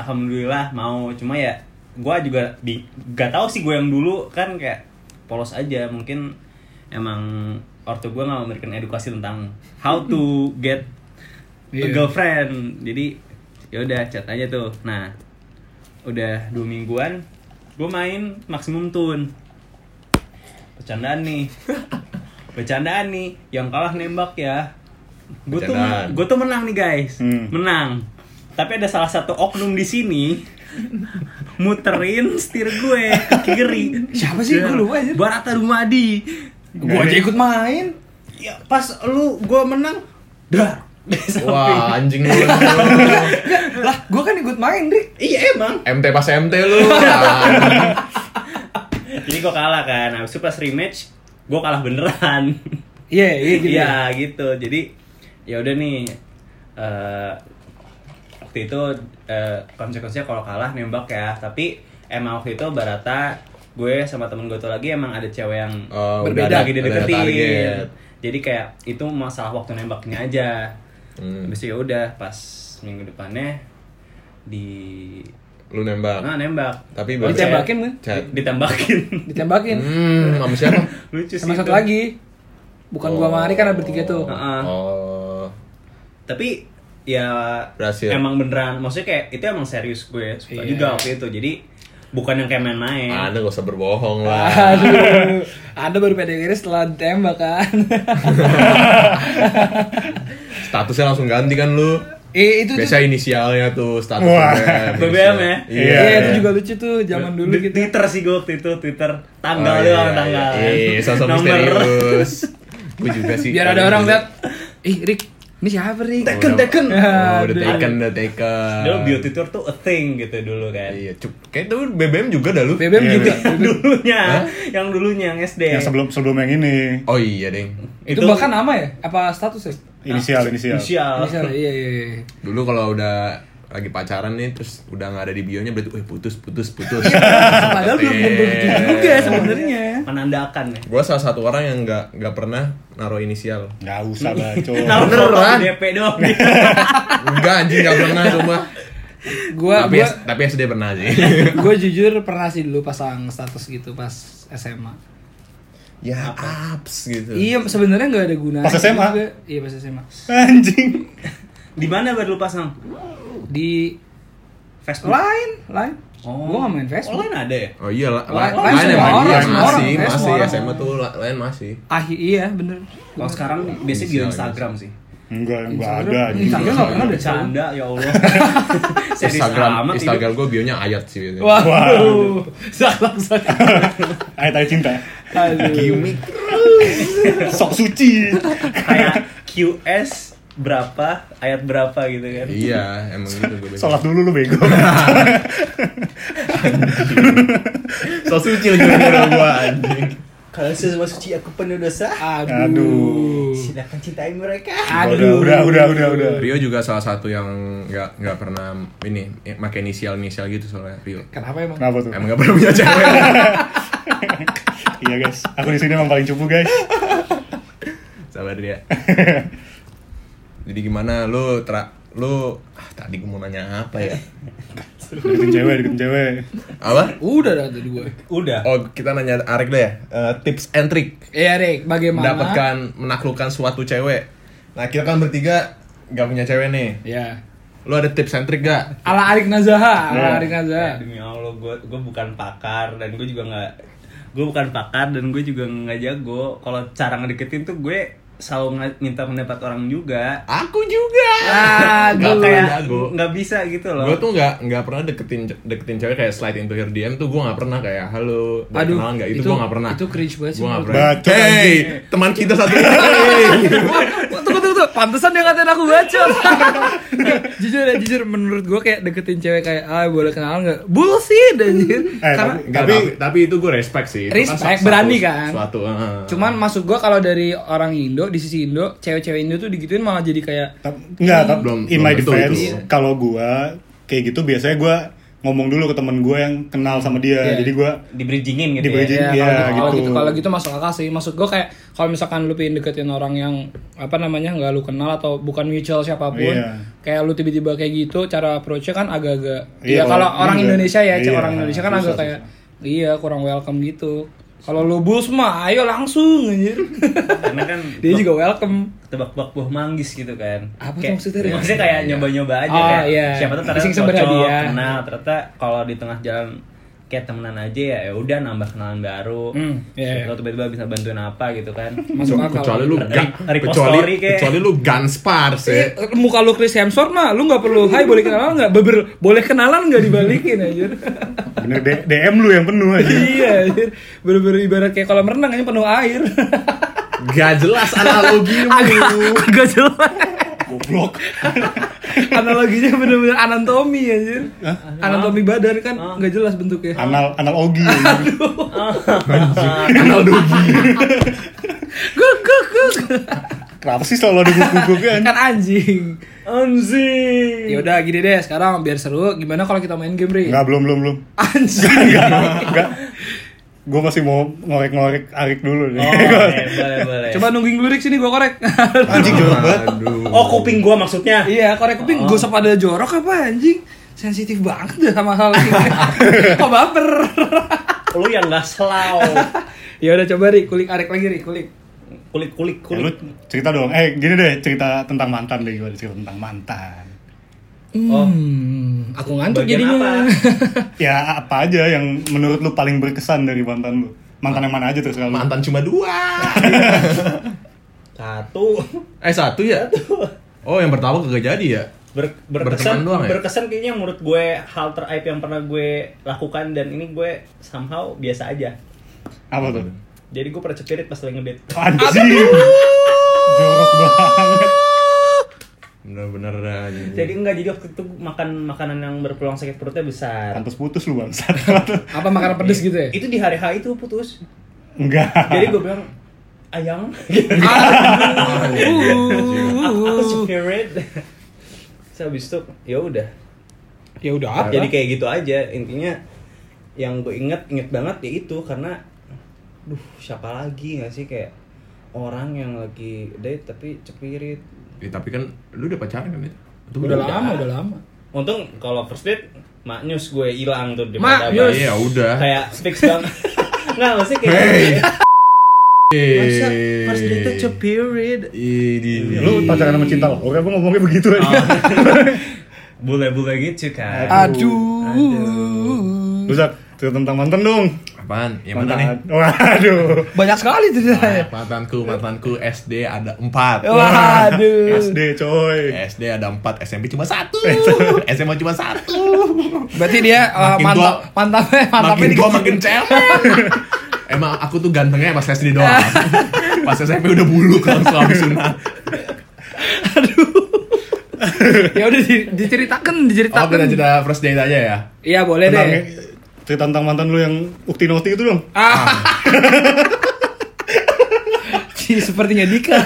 alhamdulillah mau cuma ya gue juga di gak tahu sih gue yang dulu kan kayak polos aja mungkin emang ortu gue nggak memberikan edukasi tentang how to get a Iya. girlfriend jadi yaudah chat aja tuh nah udah dua mingguan gue main maksimum tune bercandaan [LAUGHS] nih bercandaan nih yang kalah nembak ya gue tuh Bercandaan. gue tuh menang nih guys Hmm. menang tapi ada salah satu oknum di [LAUGHS] sini muterin setir gue ke kiri Siapa sih? Gua lupa aja. Barata Dumadi Gua aja ikut main. ya pas lu gue menang dar [LAUGHS] Wah, anjing lu. Lah, gua kan ikut main, Rick. iya emang MT pas MT [LAUGHS] lu. Ah, Jadi gue kalah kan, habis itu pas rematch gue kalah beneran. Iya, iya gitu. ya. Iya gitu. Jadi ya udah nih eh waktu itu eh, konsekuensinya kalau kalah nembak ya. Tapi emang waktu itu Barata gue sama temen gue tuh lagi emang ada cewek yang Oh, udah ada- berbeda lagi udah ada target. dideketin. Jadi kayak itu masalah waktu nembaknya aja. Hmm. Habis itu ya udah pas minggu depannya di Lu nembak. nah nembak Ah. Tapi Oh, baru- Ditembakin kan? Chat. ditembakin Ditembakin. Hmm, sama siapa? [LAUGHS] lucu sih Sama itu. satu lagi. Bukan gua sama Rick kan ada bertiga tuh. Heeh. Oh. tapi ya Berhasil. emang beneran maksudnya kayak itu emang serius Iya, gue suka juga waktu itu jadi bukan yang kayak Eh. main-main Ada gak usah berbohong lah. Aduh, Anda baru PDKT setelah ditembak kan? Statusnya langsung ganti kan lu. Eh, itu Biasa iya. inisialnya tuh status Wah. BBM ya? Iya. Iya, itu juga lucu tuh zaman dulu Di- gitu. Twitter sih gue waktu itu Twitter tanggal Oh, doang iya, tanggal Iya, iya, sosok nomor misterius. Gue juga sih. Biar ada orang lihat, ih Rick, ini siapa Rick? Tekan, tekan. Ya, Udah aduh. taken, udah taken. [LAUGHS] dulu bio Twitter tuh a thing gitu dulu kan [LAUGHS] Iya, cuk. Kayak tuh BBM juga dah lu. BBM Iya, juga. dulunya yang dulunya yang SD Yang sebelum sebelum yang ini Oh iya, Deng. Itu bahkan nama ya? Apa status ya? inisial inisial. Ah, inisial Misalnya, iya iya. iya. Dulu kalau udah lagi pacaran nih terus udah nggak ada di bionya berarti eh putus putus putus. Iya, Padahal belum belum begitu juga sebenarnya. menandakan ya Gue salah satu orang yang nggak nggak pernah naruh inisial. Gak usah [LAUGHS] baco. Nah, Oh. Beneran? DP doang [LAUGHS] [LAUGHS] Enggak anjing nggak pernah cuma. Gua tapi, gua S- tapi SD pernah sih. [LAUGHS] gua jujur pernah sih dulu pasang status gitu pas SMA. ya apps gitu. Iya, sebenarnya nggak ada gunanya. Pas SMA? juga. Iya, pas SMA. Anjing. di mana baru lu pasang Di Facebook lain, lain. Oh. Gua nggak main Facebook. online ada ya Oh iya, la- la- Lain- lain lain emang semua iya, orang, semua masih, orang, eh, masih semua orang. SMA tuh la- lain masih. Ah iya, bener. kalau sekarang biasanya di Instagram sih Enggak, enggak Instagram- ada anjing. Instagram nggak pernah deh. bercanda ya Allah. [LAUGHS] Serius Instagram, amat hidup. Instagram gue bionya ayat sih. biasanya. Waduh, salah salah. Ayat-ayat cinta. Aduh. Sok suci. kayak QS berapa ayat berapa gitu kan. Iya, emang gitu gue. biasanya. Sholat dulu lu bego. Sok suci lagi gue anjing. Kalau sesama suci aku penuh dosa, Aduh. Aduh. silakan cintai mereka. Udah, Aduh. udah, udah, udah, udah. Rio juga salah satu yang nggak nggak pernah ini eh, pakai inisial inisial gitu soalnya Rio. Kenapa emang? Kenapa tuh? Emang nggak pernah punya cewek. Iya guys, aku di sini emang paling cupu guys. Sabar dia. Jadi gimana lu tra lu ah, tadi gue mau nanya apa ya? Deketin cewek, deketin cewek. Apa? Udah dah tadi gue. Udah. Oh kita nanya Arek deh ya. Eh, tips and trick Iya, Rick, bagaimana? mendapatkan menaklukkan suatu cewek. Nah kita kan bertiga nggak punya cewek nih. Ya. Lu ada tips and trick gak? Ala Arik Nazaha, ala Ya. Arik Nazaha. Demi Allah, gue gue bukan pakar dan gue juga nggak gue bukan pakar dan gue juga nggak jago. Kalau cara ngedeketin tuh gue selalu nga- minta pendapat orang juga Aku juga. ah Nggak gue kayak pernah, gua. nggak bisa gitu loh Gue tuh nggak nggak pernah deketin deketin cewek kayak slide into her DM tuh gue nggak pernah kayak halo boleh Aduh, kenalan nggak itu, itu- gue nggak pernah itu cringe banget sih Gua nggak menurut pernah. gue. Bacot, hey anjing. teman kita satu [LAUGHS] hey. Wah, tunggu tunggu tunggu pantesan dia ngatain aku bacot [LAUGHS] jujur ya jujur menurut gue kayak deketin cewek kayak ah boleh kenalan nggak bullshit anjir Eh, karena tapi- Nggak, tapi, tapi itu gue respect sih Itu Respect, suatu- berani kan? suatu eh. cuman masuk gue kalau dari orang Indo di sisi Indo cewek-cewek Indo tuh digituin malah jadi kayak Ta- Enggak, tapi Belum- in belum my tentu defense, itu. kalau gua kayak gitu biasanya gua ngomong dulu ke temen gua yang kenal sama dia. Iya. Jadi gua di bridgingin gitu Di bridging. ya Iya, Iya, iya, kalau gitu. gitu. Kalau gitu masuk akal sih. Maksud gue kayak kalau misalkan lu pengen deketin orang yang apa namanya nggak lu kenal atau bukan mutual siapapun, Iya. kayak lu tiba-tiba kayak gitu, cara approach-nya kan agak-agak. Iya, Iya, kalau kalau orang ini Indonesia ya, enggak. Iya, orang Indonesia kan susah, agak kayak iya kurang welcome gitu. Kalau lu bus mah, ayo langsung [LAUGHS] anjir. karena kan Dia juga welcome. tebak-tebak buah manggis gitu kan Apa tuh Kayak- maksudnya, Rin? maksudnya kayak Iya. nyoba-nyoba aja Oh, kayak iya. siapa tuh ternyata Iseng-iseng cocok berhadiah. kenal ternyata kalau di tengah jalan kayak temenan aja ya ya udah nambah kenalan baru Hmm, iya, Siapa iya. tahu tiba-tiba bisa bantuin apa gitu [LAUGHS] kan Masuk Kecuali- akal. kecuali lu Re- gun, repost kecuali story kayak. kecuali lu gunspars ya Eh, muka lu Chris Hemsworth mah lu nggak perlu hai boleh kenalan nggak beber boleh kenalan nggak dibalikin anjir [LAUGHS] bener D- DM lu yang penuh aja. iya anjir bener-bener ibarat kayak kolam renang ini penuh air gak jelas analogimu [LAUGHS] agak jelas Goblok. analoginya bener-bener anatomi anjir Hah? anatomi badan kan nggak jelas bentuknya Anal anal ogi. analogi guk guk guk Kenapa sih selalu ada guguk kan? kan anjing anjing ya udah gini deh sekarang biar seru gimana kalau kita main game ri Enggak, belum belum belum. anjing Enggak. Gua masih mau ngorek-ngorek Arik dulu Iya. nih. oh boleh boleh boleh coba nungging lurik sini gua korek [LAUGHS] Anjing jorok banget. aduh oh kuping gua maksudnya iya korek kuping gua pada jorok apa anjing sensitif banget dah sama hal ini kok baper [LAUGHS] lu yang nggak selau ya udah coba ri kulik arek lagi ri kulik kulik kulik Ya, lu kulik cerita dong. Eh, gini deh, cerita tentang mantan deh gimana cerita tentang mantan. Oh. Hmm, aku ngantuk Bagian [LAUGHS] jadinya. Ya apa aja yang menurut lu paling berkesan dari mantan lu? Mantan yang mana aja terus kalau mantan cuma dua satu eh satu ya oh yang pertama kagak jadi ya Ber- Berteman berkesan doang ya? berkesan kayaknya menurut gue hal teraib yang pernah gue lakukan dan ini gue somehow biasa aja apa tuh? jadi gue pernah cepirit pas lagi ngedit Iya. Anjing. Jorok banget. bener-bener aja jadi enggak jadi waktu itu makan makanan yang berpeluang sakit perutnya besar Pantes putus lu bang. apa makanan pedes gitu ya? itu di hari H itu [LAUGHS] putus Enggak. jadi gue bilang ayang Ah. [LAUGHS] Ah, iya, aku, aku Gitu. Uh. cepirit so, habis itu ya udah Ya udah apa? jadi kayak gitu aja intinya yang gue inget inget banget ya itu karena duh siapa lagi nggak sih kayak orang yang lagi date tapi cepirit Eh, tapi kan lu udah pacaran kan ya Itu udah lama, udah lama. untung kalau first date maknyus gue hilang tuh di Mak mata Nyus. Bang. Iya udah. kayak fix [LAUGHS] banget nggak maksudnya kayak Masa Eh. first date cepirit Ini. Lu pacaran sama cinta lo? Oke, gue ngomongnya begitu aja. bule-bule gitu kan Aduh. Lu Zak, cerita tentang mantan dong. Apaan? Yang mana nih? Mantan. [LAUGHS] Waduh. Banyak sekali tuh Ah, saya. Mantanku, mantanku SD ada empat. Waduh. SD coy. SD ada empat, SMP cuma satu, SMA cuma satu. Berarti dia uh, Makin mantap tua- mantapnya mantapnya makin di tua makin cemen. Emang aku tuh gantengnya pas SD doang. pas SMP udah bulu langsung habis sunat. Ya udah di- diceritakan, Oh, diceritakan. kita cerita first date aja ya. Iya, boleh deh. Tentang cerita tentang mantan lu yang ukti nokti itu dong. Ah. Ih, Sepertinya Dika.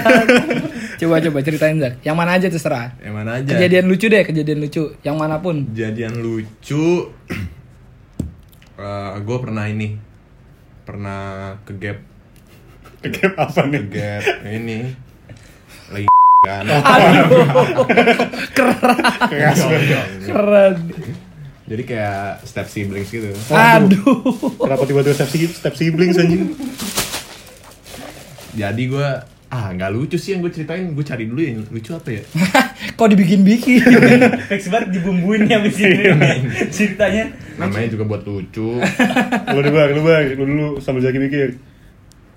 [LAUGHS] Coba coba ceritain Zak. Yang mana aja terserah. Yang mana aja? Kejadian lucu deh, kejadian lucu. Yang manapun. Kejadian lucu. [CLEARS THROAT] Eh, gue pernah ini. Pernah ke gap Kegep apa nih? gap ini lagi [LAUGHS] kan [LAUGHS] Iya, Keras banget. Keren. jadi kayak step siblings gitu Aduh. Kenapa tiba-tiba step, si- step siblings anjing? jadi gue ah nggak lucu sih yang gue ceritain gue cari dulu yang lucu apa ya Kok dibikin-bikin? fix banget dibumbuin ya abis ini Iya. ceritanya namanya juga buat Lu lucu dulu, Bang, lu Bang. Lu dulu sambil Zaki mikir.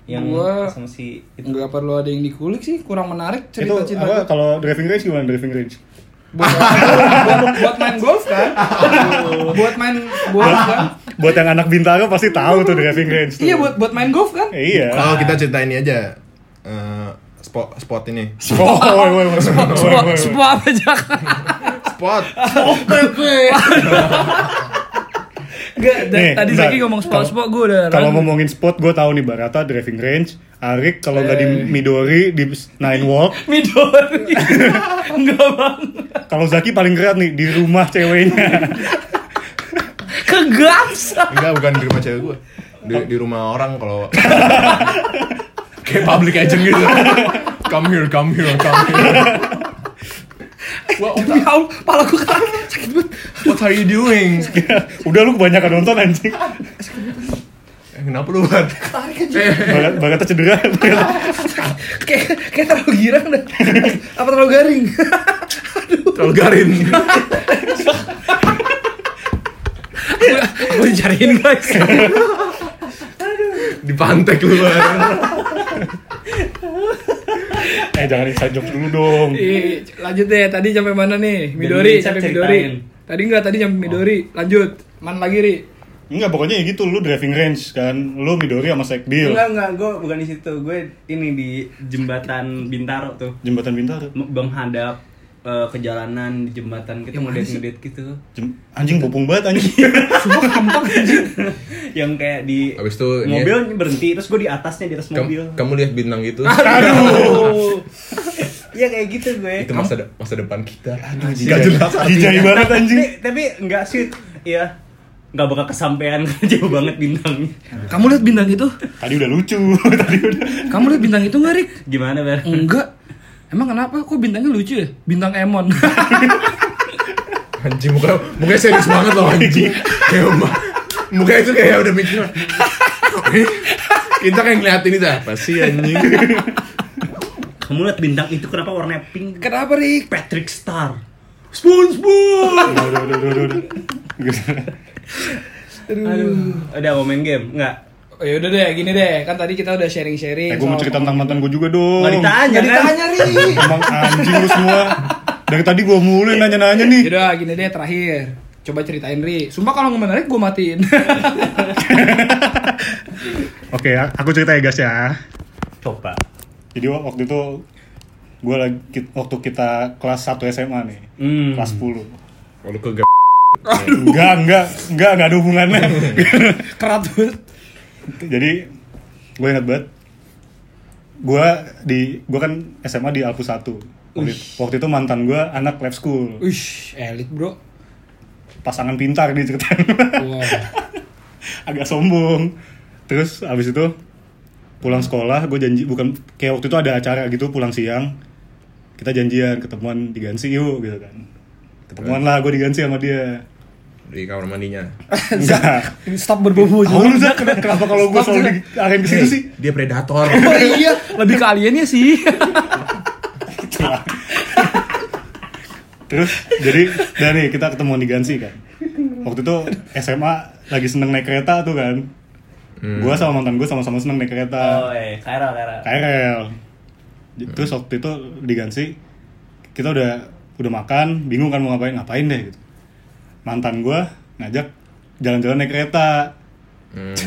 yang Gua- sama si itu [LAUGHS] nggak perlu ada yang dikulik sih kurang menarik itu cerita cinta apa kalau driving range gimana driving range buat, buat, buat main golf [LAUGHS] kan buat main golf kan buat yang anak bintara pasti tahu tuh driving range tuh. iya buat buat main golf kan Eh, iya Kalau kita cerita ini aja eh, spot spot ini. Oh, woi, woi, woi, woi, Sebuah- woi, woi. sebuah apa [LAUGHS] Jak? Spot. Oh, [LAUGHS] Nggak, da- Nih, tadi bentar. Zaki ngomong spot-spot gue udah Kalau ragu. ngomongin spot, gue tahu nih Barata driving range, Arik kalau nggak di Eh. Midori di Nine Walk, Midori [LAUGHS] Enggak bang kalau Zaki paling keren nih di rumah ceweknya. Kegaksa Enggak bukan di rumah cewek gue. Di, di rumah orang [LAUGHS] kalau kayak public agent gitu. come here, come here, come here. What, what, Ya Allah, pala gue ketar Sakit banget what are you doing? Udah lu kebanyakan nonton anjing. Eh, Kenapa lu buat? Barat- Barata cedera. [LAUGHS] Barata- Kayak kayak terlalu girang [LAUGHS] dah Apa terlalu garing Terlalu garin. Gue dicariin guys Dipantek lu. Bar. eh jangan inside jokes dulu dong. Ih, Lanjut deh tadi sampai mana nih Midori Jadi, sampai ceritain. Midori Tadi enggak tadi sampai Midori Lanjut Mana lagi Ri Enggak, pokoknya ya gitu lu driving range kan. Lu Midori sama Iya. Sekbil. enggak enggak gue bukan di situ gue ini di jembatan Bintaro tuh Jembatan Bintaro. M- menghadap eh, ke jalanan di jembatan kita ngedit-ngedit gitu Jem- anjing bopong banget anjing. yang kayak di Abis itu ini- ya. mobil berhenti terus gue di atasnya di atas mobil Kamu, kamu lihat bintang itu. Aduh iya kayak gitu gue itu masa de- masa depan kita. Aduh, Gak jelas. Hijai banget anjing. tapi, tapi enggak sih iya nggak bakal kesampaian [LAUGHS] jauh banget bintangnya Kamu lihat bintang itu Tadi udah lucu. [LAUGHS] Tadi udah. Kamu lihat bintang itu nggak Rik gimana ber Enggak Emang kenapa? Kok bintangnya lucu ya? Bintang Emon Anjing muka mukanya serius banget loh anjing. Kayak emak. muka itu kayak udah mikir. Kita kayak ngeliatin itu apa sih anjing? kamu lihat bintang itu kenapa warnanya pink [LAUGHS] Kenapa Rik? Patrick Star Spoon spoon. Oh, Udah, udah, udah, udah, udah. Gitu. aduh udah mau main game nggak Oh, ya udah deh, gini deh. Kan tadi kita udah sharing-sharing. Eh, gue mau soal- cerita tentang mantan gue juga dong. nggak ditanya Nggak kan ditanya, [LAUGHS] Ri. Emang anjing lu semua. Dari tadi gue mulu yang nanya-nanya nih. Yaudah, Ya gini deh terakhir. Coba ceritain, Ri. Sumpah kalau nggak menarik gue matiin. [LAUGHS] Oke, a- aku cerita ya guys ya. coba Jadi wa- waktu itu gue lagi ki- waktu kita kelas 1 SMA nih. hmm. Kelas 10. Walau ke Enggak, enggak, enggak, enggak ada hubungannya. [LAUGHS] Kerat banget. Jadi gue ingat banget gue di gue kan SMA di Alpus 1. Waktu, waktu itu mantan gue anak lab school. Ush, elit, Bro. Pasangan pintar di [LAUGHS] Wow. agak sombong terus abis itu pulang sekolah gue janji bukan kayak waktu itu ada acara gitu pulang siang kita janjian ketemuan di Gansi yuk gitu kan ketemuan lah gue di Gansi sama [LAUGHS] dia di kamar mandinya. Ah, enggak Stop berbobo tahu lu Zak, ken- kenapa kalau gue selalu Stop, Zak. diarahin ke situ sih Eh, Dia predator. Oh [LAUGHS] iya, lebih ke aliennya sih. terus jadi dari kita ketemuan di Gansi kan waktu itu SMA lagi seneng naik kereta tuh kan gue sama mantan gue sama-sama seneng naik kereta oh eh Kaira Kaira KRL. Terus waktu itu di Gansi kita udah udah makan, bingung kan mau ngapain ngapain deh gitu. Mantan gua ngajak jalan-jalan naik kereta. [LAUGHS]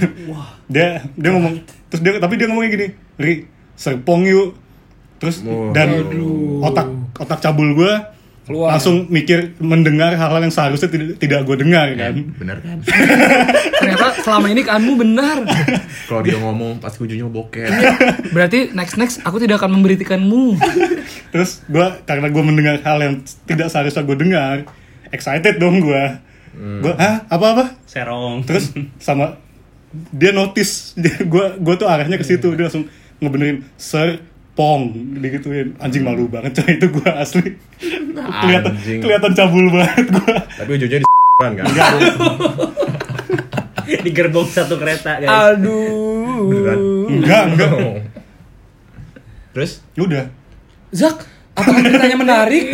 dia dia ngomong terus dia tapi dia ngomongnya gini, "Ri, Serpong yuk." Terus Wah. dan Aduh. otak otak cabul gua Keluar. langsung mikir mendengar hal-hal yang seharusnya tidak tidak gue dengar kan Bener kan? Ternyata selama ini kamu benar. Kalau dia ngomong pasti ujungnya bokeh. Berarti next next aku tidak akan memberitikanmu. terus gua karena gue mendengar hal yang tidak seharusnya gue dengar excited dong gua Gua, hah apa apa Serong [LAUGHS] terus sama dia notice Dia- gua gua tuh arahnya ke situ dia langsung ngebenerin sir pong digituin anjing malu banget coy itu gua asli kelihatan Anjing. kelihatan cabul banget gua Tapi ujungnya di [LAUGHS] kan? di gerbong satu kereta guys Beneran. Aduh. enggak enggak [LAUGHS] Ya Terus? udah Zak, apakah ceritanya menarik?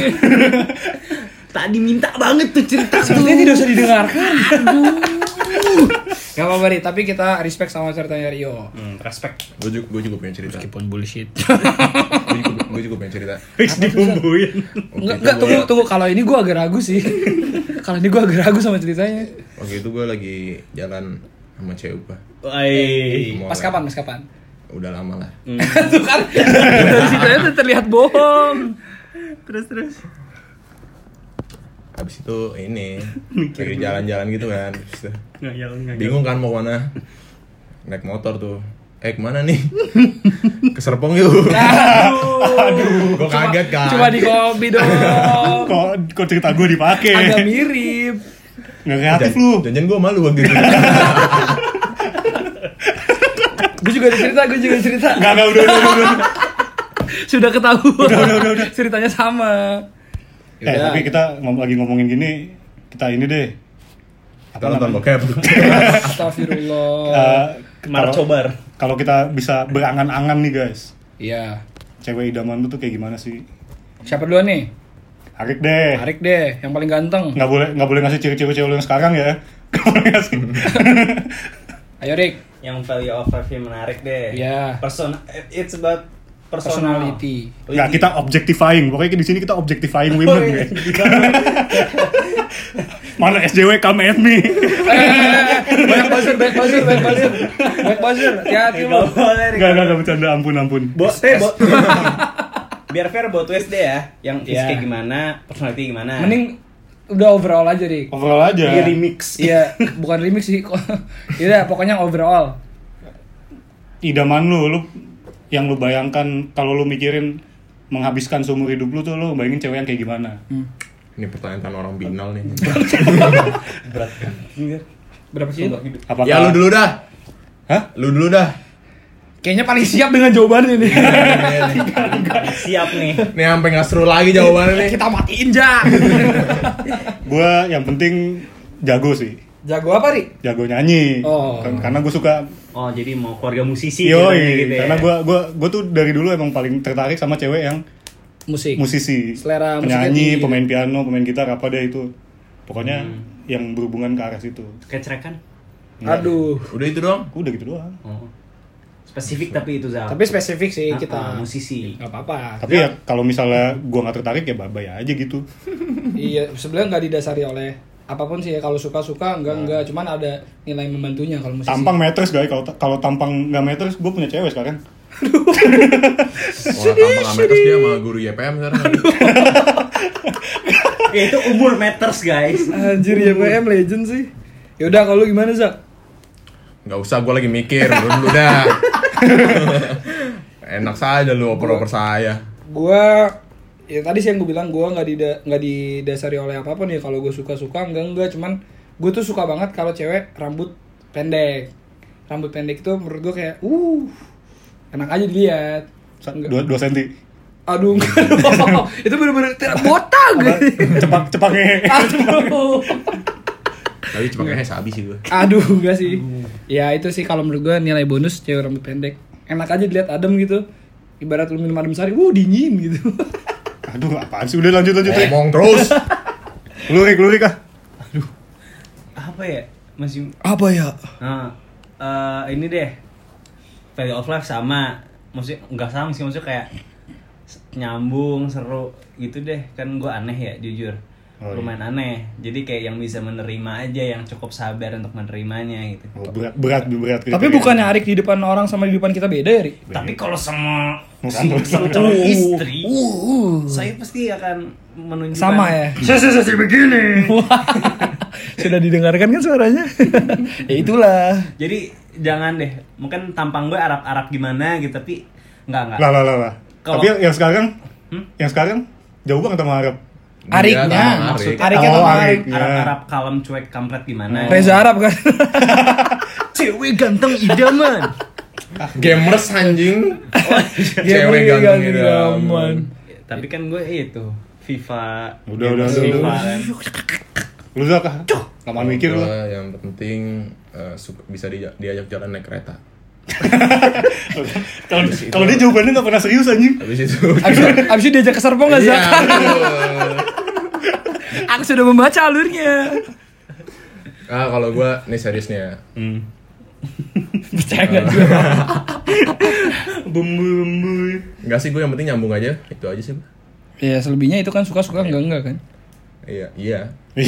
tadi minta banget tuh cerita Sepertinya tidak usah didengarkan. Aduh. Gak apa-apa Ri, tapi kita respect sama ceritanya Rio. Hmm, respect. Gue juga, gua juga punya cerita. Gue Meskipun bullshit. juga, gua juga punya cerita. Fix dibumbuin. Waktu Enggak, itu enggak gua- tunggu, tunggu. Kalau ini gua agak ragu sih. Kalau ini gua agak ragu sama ceritanya. Waktu itu gue lagi jalan sama cewek gue. Woi. Mau Pas lah. kapan? Pas kapan? Udah lama lah. Tuh kan. Dari ceritanya tuh terlihat bohong. Terus terus. Habis itu ini lagi jalan-jalan gitu kan. Habis itu Ngayal ngayal. Bingung kan mau kemana? Naik motor tuh. Eh kemana [LAUGHS] nih? Ke Serpong yuk. Aduh. Gue kaget kan. Cuma di kopi dong. Kok kok cerita gue dipake? Agak mirip. Nggak kreatif lu. Janjian gue malu waktu itu. Gue juga ada cerita, gue juga ada cerita. Nggak nggak udah udah udah, udah. Sudah ketahuan. Udah, udah, udah, udah. Ceritanya sama. Eh Iya. Yaudah. tapi kita ngom lagi ngomongin gini kita ini deh. Kita nonton bokep. Astagfirullah. Eh, kalau- Marcobar. Kalau kita bisa berangan-angan nih guys, Iya. cewek idaman lu tuh kayak gimana sih? Siapa duluan nih? Arik deh. Tarik deh, yang paling ganteng. Nggak boleh nggak boleh ngasih ciri-ciri cewek lu yang sekarang ya. [LAUGHS] Nggak boleh ngasih. Ayo Rick. Yang value of life yang menarik deh. Iya. Persona. It's about personal. Personality. iya. Nggak kita objectifying. Pokoknya di sini kita objectifying women guys. Mana SJW come at me. [LAUGHS] banyak buzzer, banyak buzzer, banyak buzzer. Banyak buzzer. Hati-hati lu. Gak boleh. Enggak enggak enggak bercanda ampun ampun. Bo- eh, bo- [LAUGHS] biar fair both ways deh ya. Yang Iya. fisiknya gimana, personality gimana. Mending udah overall aja Rick. Overall aja. di remix. Iya, bukan remix sih. [LAUGHS] Iya, pokoknya overall. Idaman lu lu yang lu bayangkan kalau lu mikirin menghabiskan seumur hidup lu tuh lu bayangin cewek yang kayak gimana? [LAUGHS] Ini pertanyaan orang binal nih. Berat. Berapa sih? Apakah ya lu dulu dah. Hah? Lu dulu dah. Kayaknya paling siap dengan [LAUGHS] jawabannya nih. Siap nih. Nih sampai nggak seru lagi jawabannya nih. Eh, Kita matiin Jack. Gua yang penting jago sih. [LAUGHS] Jago apa, Ri? Jago nyanyi. Oh. Kan- Karena gue suka Oh, jadi mau keluarga musisi jadinya Yoi, ya. karena gue gua, gua tuh dari dulu emang paling tertarik sama cewek yang Musik. musisi Selera musiknya penyanyi, tinggi. pemain piano, pemain gitar, apa deh itu Pokoknya yang berhubungan ke arah situ kecerakan. Aduh. Udah itu dong. Udah gitu doang Oh. Spesifik tapi itu Zal. Tapi spesifik sih Ah, ah, kita. musisi. [LAUGHS] Gak apa-apa. Tapi ya kalau misalnya gue gak tertarik ya bye-bye aja gitu Iya, sebenarnya nggak didasari oleh apapun sih ya. Kalau suka-suka enggak enggak, cuman ada nilai membantunya kalau musisi. Tampang matters guys, kalau ta- kalau tampang gak matters gue punya cewek sekarang Orang kampung Amerikas dia sama guru YPM sekarang. ya itu umur matters, guys. Anjir ya PM legend sih. Yaudah kalau lu gimana, Zak? Gak usah gue lagi mikir. Lu dulu dah. Enak saja lu oper-oper saya. Gua ya tadi sih yang gue bilang gua nggak dida nggak didasari oleh apapun ya kalau gue suka-suka enggak enggak cuman gue tuh suka banget kalau cewek rambut pendek rambut pendek itu menurut gue kayak uh enak aja dilihat Sa- Enggak. dua dua [LAUGHS] senti aduh enggak [LAUGHS] dong. itu bener-bener tidak botak Cepak, [LAUGHS] cepaknya aduh Tapi cuma kayaknya sabi sih gue. Aduh enggak sih. Ya itu sih kalau menurut gua nilai bonus cewek rambut pendek. Enak aja dilihat adem gitu. Ibarat lu minum adem sari, wuh dingin gitu. Aduh apaan sih, udah lanjut lanjut Rik Ngomong terus. Lurik, lurik ah Apa ya? Masih Apa ya? Nah, eh, ini deh value of life sama maksudnya nggak sama sih maksudnya kayak s- nyambung seru gitu deh kan gue aneh ya jujur Oh, iya. lumayan aneh jadi kayak yang bisa menerima aja yang cukup sabar untuk menerimanya gitu Oh, berat, berat, berat Tapi kriteria. bukannya Arik di depan orang sama di depan kita beda [LAUGHS] ya, Ri? iya. tapi kalau sama Bukan, si- bukan. sama calon istri saya pasti akan Uh-huh. menunjukkan Sama ya. Hmm. Saya saya saya begini Sudah didengarkan kan suaranya? [LAUGHS] ya itulah. [LAUGHS] jadi jangan deh mungkin tampang gue arab arab gimana gitu tapi nggak nggak Lah lah lah lah. Kalau- Tapi yang, yang sekarang, Hmm? yang sekarang jauh banget sama Arab. Iya, Ariknya. Arik. Arik Oh, atau Arik? Arik. arab arab kalem cuek kampret gimana Reza Arab [LAUGHS] kan. cewek ganteng idaman Gamers anjing. Cewek Gamer ganteng gitu. ganteng idaman. idaman. Ya, tapi kan gue itu FIFA Udah, Games udah, udah, FIFA udah. kan Lu Zak, ah. Lamaan mikir lu. Gua Yang penting eh, suka- bisa dija- diajak jalan naik kereta. [LAUGHS] Kalau kalau dia jawabannya nggak pernah serius anjing. Habis itu. Abis, abis itu diajak ke Serpong nggak, Iya, Zak? betul. Aku sudah membaca alurnya. [LAUGHS] Ah, kalau gua nih serius nih ya. Hmm. percaya nggak juga bumbu bumbu Enggak sih, gua yang penting nyambung aja. Itu aja sih. gua. [LAUGHS] ya selebihnya itu kan suka suka enggak enggak kan Iya, iya. [LAUGHS]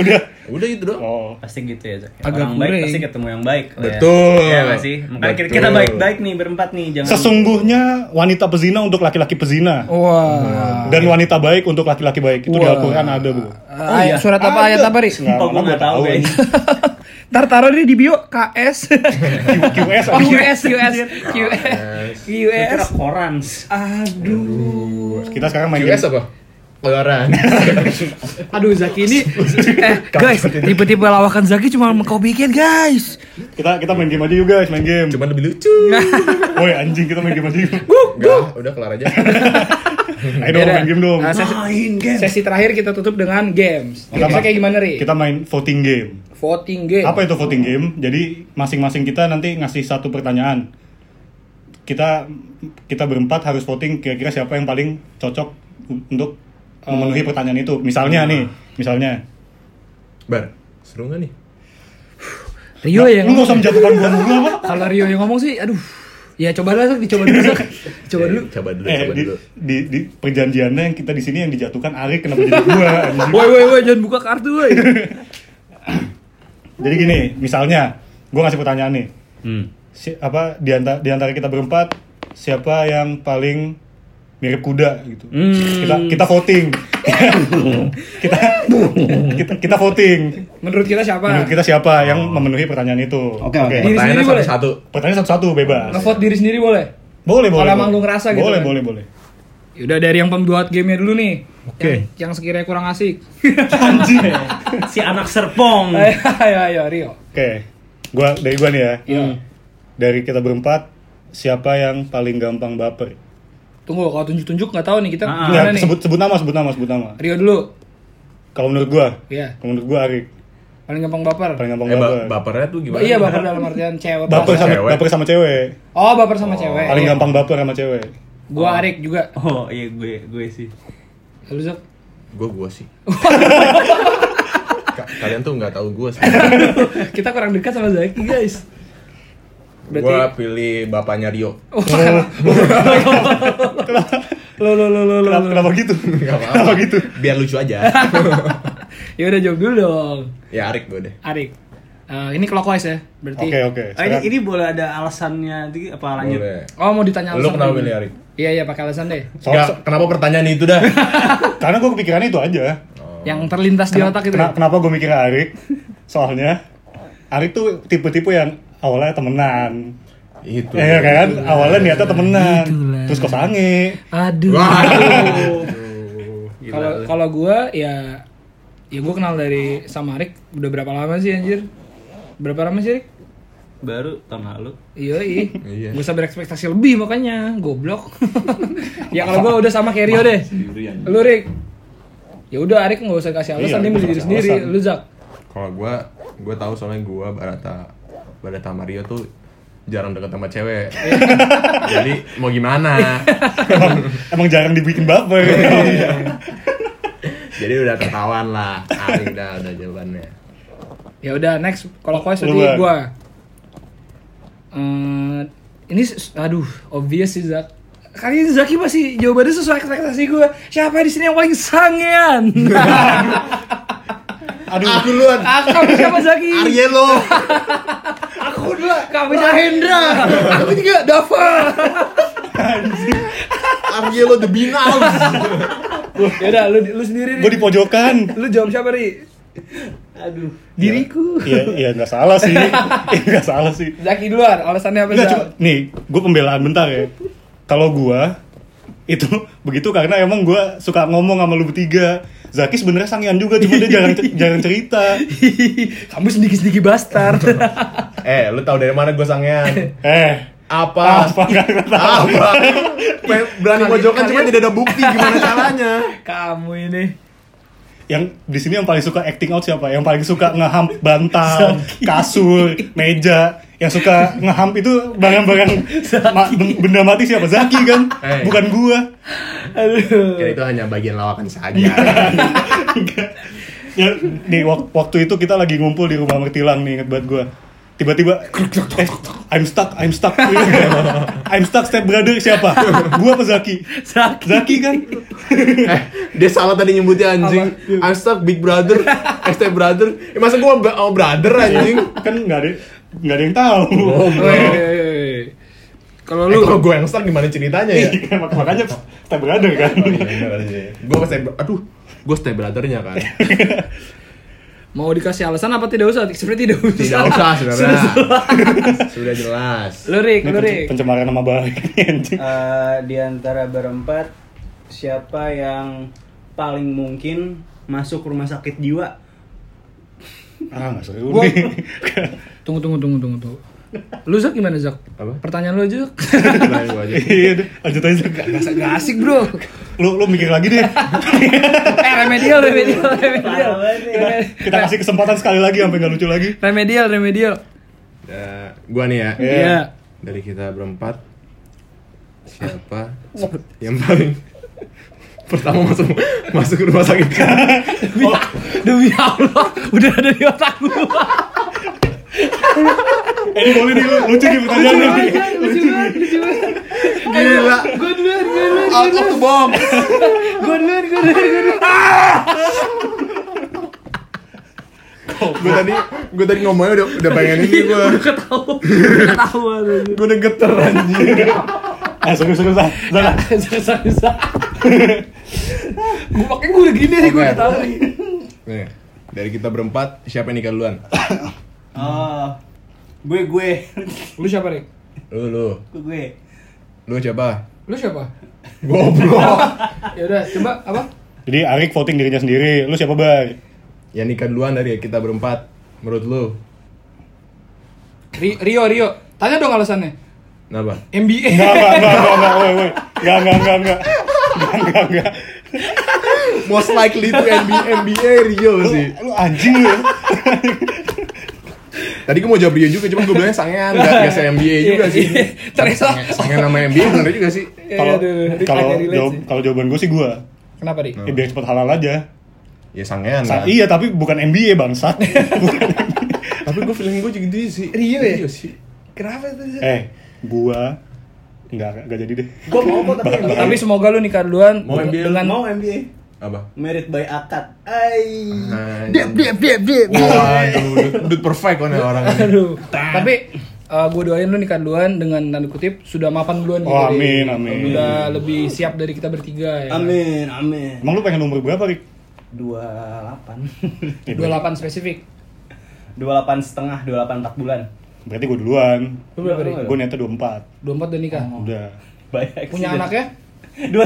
Udah. Udah itu doang. Oh. pasti gitu ya Zak. Agak orang baik kurang. pasti ketemu yang baik lah ya. Betul. Iya nggak sih makanya kita- kita Betul. baik baik nih berempat nih jangan Sesungguhnya wanita pezina untuk laki-laki pezina. wah Dan wanita baik untuk laki-laki baik. Itu di Oh. Wah. Al-Quran ada, [LAUGHS] Bu. Ah, ayat surat apa ayat apa ri Nggak, Sumpah, gua mana nggak tahu, gua [LAUGHS] guys. Ntar taruh deh di bio [LAUGHS] KS Q- QS Oh QS QS QS Gua QS kira koran Aduh Kita sekarang main US game. apa? Keluaran. Aduh Zaki [LAUGHS] ini eh, Guys tipe-tipe lawakan Zaki cuma mau kau bikin guys Kita kita main game aja yuk guys, main game. Cuman lebih lucu. Woi anjing kita main game [LAUGHS] aja yuk. Enggak, udah kelar aja. Ayo Eh, dong main game dong. Nah, sesi, sesi terakhir kita tutup dengan games Kita Gamesnya ma- kayak gimana Ri? Kita main voting game. Voting game Apa itu voting game? Jadi masing-masing kita nanti ngasih satu pertanyaan. Kita kita berempat harus voting kira-kira siapa yang paling cocok untuk Eh. memenuhi pertanyaan itu. Misalnya nih, misalnya. Bar, seru gak nih? Rio yang Nah, Lu nggak usah menjatuhkan gua mulu apa? Kalau Rio yang ngomong sih aduh Ya coba lah Zak, dicoba dulu [LAUGHS] Zak. Eh, Coba dulu Coba dulu, Eh, coba di, dulu. di, di perjanjiannya yang kita di sini yang dijatuhkan Ari kenapa jadi [LAUGHS] gua? anjing? Woi woi woi jangan buka kartu [LAUGHS] woi Jadi gini, misalnya gua ngasih pertanyaan nih. Si, apa di antara, di antara kita berempat siapa yang paling mirip kuda gitu. Kita kita voting. kita, kita kita voting. Menurut kita siapa? Menurut kita siapa yang memenuhi pertanyaan itu? Oke, oke. Pertanyaan- Pertanyaannya sendiri boleh? satu-satu. Pertanyaan satu-satu bebas. Ngevote diri sendiri boleh? Boleh, boleh. Kalau boleh. emang lu ngerasa gitu Boleh, kan? boleh, boleh. Udah dari yang pembuat gamenya dulu nih. Oke. Yang, yang sekiranya kurang asik. Anjing. [LAUGHS] si anak serpong Hmm. [LAUGHS] ayo, ayo, ayo, Rio. Oke. Gua dari gua nih ya. Iya. Dari kita berempat siapa yang paling gampang baper? Tunggu, kalau tunjuk-tunjuk nggak tahu nih kita Ah, Nggak, gimana nih? sebut sebut nama, sebut nama, sebut nama. Rio dulu. Kalau menurut gua, Iya. kalau menurut gua Ari Paling gampang baper. paling gampang Eh, baper. ba- bapernya tuh gimana? iya, baper dalam artian cewek. baper perasaan. sama Cewek. baper sama cewek. Oh, baper sama cewek. Paling Iya. gampang baper sama cewek. Gua Arik juga. oh iya gue gue sih Lalu [LAUGHS] Zak. Gue gue sih. Ka- Kalian tuh nggak tahu gue sih. kita kurang dekat sama Zaki, guys. Berarti Gue pilih bapaknya Rio. Oh, Oh, [LAUGHS] lo lo lo lo Kenapa, lo. kenapa gitu? [LAUGHS] Gak apa-apa. kenapa gitu? Biar lucu aja. Ya udah jawab dulu dong. ya Arik gue deh. Arik. Eh, ini clockwise ya, berarti. Oke, oke. Ah, ini, Sekarang- ini boleh ada alasannya di- apa lanjut Boleh. Oh, mau ditanya Lu kenapa dulu. pilih Arik? Iya, iya, pakai alasan deh. so- Nggak, so- kenapa pertanyaan itu dah? karena gua kepikiran itu aja. Yang terlintas di Gitu. otak itu. ya? Kena- Oh. kenapa gua mikir Arik? Soalnya Arik tuh tipe-tipe yang awalnya temenan. [LAUGHS] itu. Ya iya kan? Awalnya niatnya temenan. Terus kosange. Aduh. Waduh. Kalau kalau gue ya ya gue kenal dari sama Rick udah berapa lama sih anjir? Berapa lama sih Rick? baru tahun lalu Iya, iya. Iya. Gak usah berekspektasi lebih makanya, [LAUGHS] goblok. ya kalau gue udah sama Kerio deh. Lu Rick. Ya udah Arik nggak usah kasih Iya, alasan nggak dia milih diri usah sendiri. alasan. Lu Zak. Kalau gue, gue tahu soalnya gue Barata Barata Mario tuh jarang deket sama [LAUGHS] cewek. Jadi mau gimana? Emang, emang jarang dibikin baper. Jadi udah ketahuan lah. Arik dah udah jawabannya. Ya udah next kalau koes Lu, berarti Bang. gue. Eh, ini s- aduh obvious sih Zak. Kali ini Zaki masih jawabannya sesuai ekspektasi gue. Siapa di sini yang paling [LAUGHS] sangean? Aduh. Aku duluan. Kamu siapa Zaki? Arielo. Aku dulu. Kamu [LAUGHS] Hendra. Aku juga Dava. Arielo the Binals. ya udah lu lu sendiri Gua nih. di pojokan. Lu jawab siapa ri? aduh Diriku. Iya, iya nggak salah sih. Iya nggak salah sih. Zaki duluan. Alasannya apa? Enggak Zak? cuma nih, gue pembelaan bentar ya. Kalau gua itu [LAUGHS] begitu karena emang gua suka ngomong sama lu bertiga. Zaki sebenarnya sangean juga, cuma dia jarang [LAUGHS] jarang cerita. [LAUGHS] Kamu sedikit-sedikit [LAUGHS] bastard. eh, lu tahu dari mana gue sangean? Eh, Apa? apa nggak tahu. Apa? Pe- Berani Kalian- mojokan cuma kalian- tidak ada bukti gimana caranya? Kamu ini. Yang di sini yang paling suka acting out siapa? Yang paling suka ngeham bantal, kasur, meja, yang suka ngeham itu barang-barang ma- benda mati siapa? Zaki kan, Eh. bukan gua. Aduh. Iya. Ya, itu hanya bagian lawakan saja. ya, di wak- waktu itu kita lagi ngumpul di rumah mertilang nih inget banget gue tiba-tiba eh, I'm stuck I'm stuck [LAUGHS] I'm stuck step brother siapa gue apa Zaki Zaki. Zaki [LAUGHS] kan eh, dia salah tadi nyebutnya anjing. I'm stuck big brother, hashtag brother. Eh, masa gua ba- oh, brother anjing? kan nggak ada nggak ada yang tahu Woi, woi, woi. Eh, Kalau lu kalau gua yang stuck gimana ceritanya [LAUGHS] ya? Iya, mak- makanya step brother kan Iya, Gua pas step- aduh, gua step brothernya kan. mau dikasih alasan apa tidak usah? Seperti tidak Tidak usah. usah [LAUGHS] sebenarnya. Sudah- Sudah jelas. Lu Rik, ini lu pence- Rik. pencemaran nama baik [LAUGHS] nih, anjing Eh, di antara berempat siapa yang paling mungkin masuk rumah sakit jiwa? ah nggak seru Gua- nih Tunggu tunggu tunggu tunggu tunggu. Lu Zak gimana Zak? Apa? Pertanyaan lu aja Zak. [LAUGHS] Pertanyaan gua aja. [LAUGHS] iya deh, lanjut aja Gak asik bro. [LAUGHS] lu lu mikir lagi deh eh remedial remedial remedial. Parah banget ya. kita, kita kasih kesempatan sekali lagi sampai nggak lucu lagi Remedial remedial. Eh, gua nih ya. Iya. Iya. Dari kita berempat siapa yang paling pertama masuk masuk rumah sakit Demi, demi Allah, udah ada di otak gua. eh ini boleh nih lu lucu nih pertanyaan [LAUGHS] lu nih. Lucu banget, lucu banget. Gila. Gue duluan, gue duluan, gue Aku bom. duluan, gue duluan, gue duluan. Gue tadi gue tadi ngomongnya udah udah pengen ini gue. [LAUGHS] Ketawa, ketawa. Gue udah geter anjing. eh seru seru sah Zara. Bisa-bisa. Gue pakai gue udah gini nih, gue Oke. ketawa nih. Nih, dari kita berempat siapa yang nikah duluan? Oh, gue gue [LAUGHS] Lu siapa nih? Lu lu. gue. Lu siapa? Lu siapa? Goblok. Ya udah, coba apa? jadi Arik voting dirinya sendiri lu siapa bar yang nikah duluan dari kita berempat menurut lu. Ri- Rio, Rio. Tanya dong alasannya. Kenapa? MBA. nggak nggak nggak nggak nggak woi woi nggak nggak nggak nggak nggak nggak nggak Most likely to NBA, NBA Rio lu, sih. lu anjing lu ya. Tadi gue mau jawab Rio juga, cuma gue bilangnya sangean gak, gak se NBA juga sih. Iya, iya. Ternyata. Sangean- Sangean nama NBA bener juga sih. kalau [LAUGHS] Iya, aduh, Rik kalau agak relate jawab sih. kalau jawaban gue sih gue Kenapa, Ri? ya biar cepet halal aja Ya sangean. Sa- kan. iya tapi bukan NBA bangsat Bukan. Tapi gue feeling gue juga gitu sih. Rio ya? sih. Kenapa tuh? eh gua nggak nggak jadi deh Gue mau kok tapi Tapi semoga lu nikah duluan Mau MBA lu? dengan mau MBA. Apa? Merit by akad. Ay. Dip, dip, dip, dip. Wah, Nah, dude perfect kan ya orang ini. Aduh. Tapi gue doain lu nikah duluan dengan tanda kutip sudah mapan duluan gitu. Oh, Ri. amin, amin. Udah lebih siap dari kita bertiga ya. Amin, amin. emang lu pengen umur berapa Rik [LAUGHS] 28. Ya, 28 spesifik. 28 setengah, 28 4 bulan. berarti gue duluan Lu berapa, Ri? gue niatnya 24 24 udah nikah. udah Banyak Punya anak [LAUGHS] ya? 23.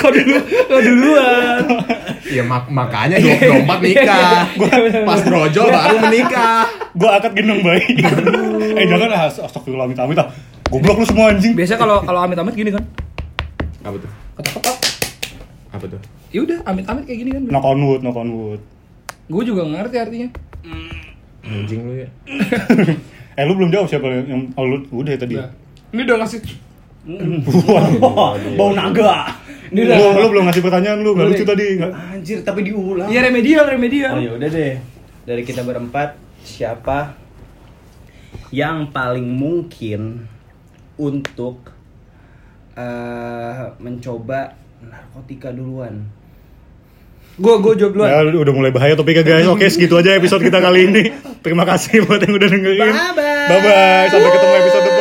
Kau dulu, kau duluan. Ya mak makanya dua puluh empat nikah. Iya, bener, Pas brojol baru menikah. gue akad gendong baik eh jangan ah astagfirullah amit amit ah goblok lu semua anjing Biasa kalau kalau amit-amit gini kan. Apa tuh? Ketok-ketok. Apa tuh? Ya udah, amit-amit kayak gini kan. knock on wood knock on wood Gue juga nggak ngerti artinya. Anjing lu ya. eh lu belum jawab siapa yang oh, lu udah tadi Udah. Ini udah ngasih Wah, bau naga. Ini udah. lu, lu belum ngasih pertanyaan lu nggak Lu lucu deh. tadi nggak Anjir, tapi diulang. Iya remedial, remedial. Oh ya udah deh. Dari kita berempat, siapa yang paling mungkin untuk eh, mencoba narkotika duluan? Gue gue jawab duluan. Ya, udah mulai bahaya topiknya guys. Oke, segitu aja episode kita kali ini. Terima kasih buat yang udah dengerin. Bye bye. Sampai ketemu episode depan.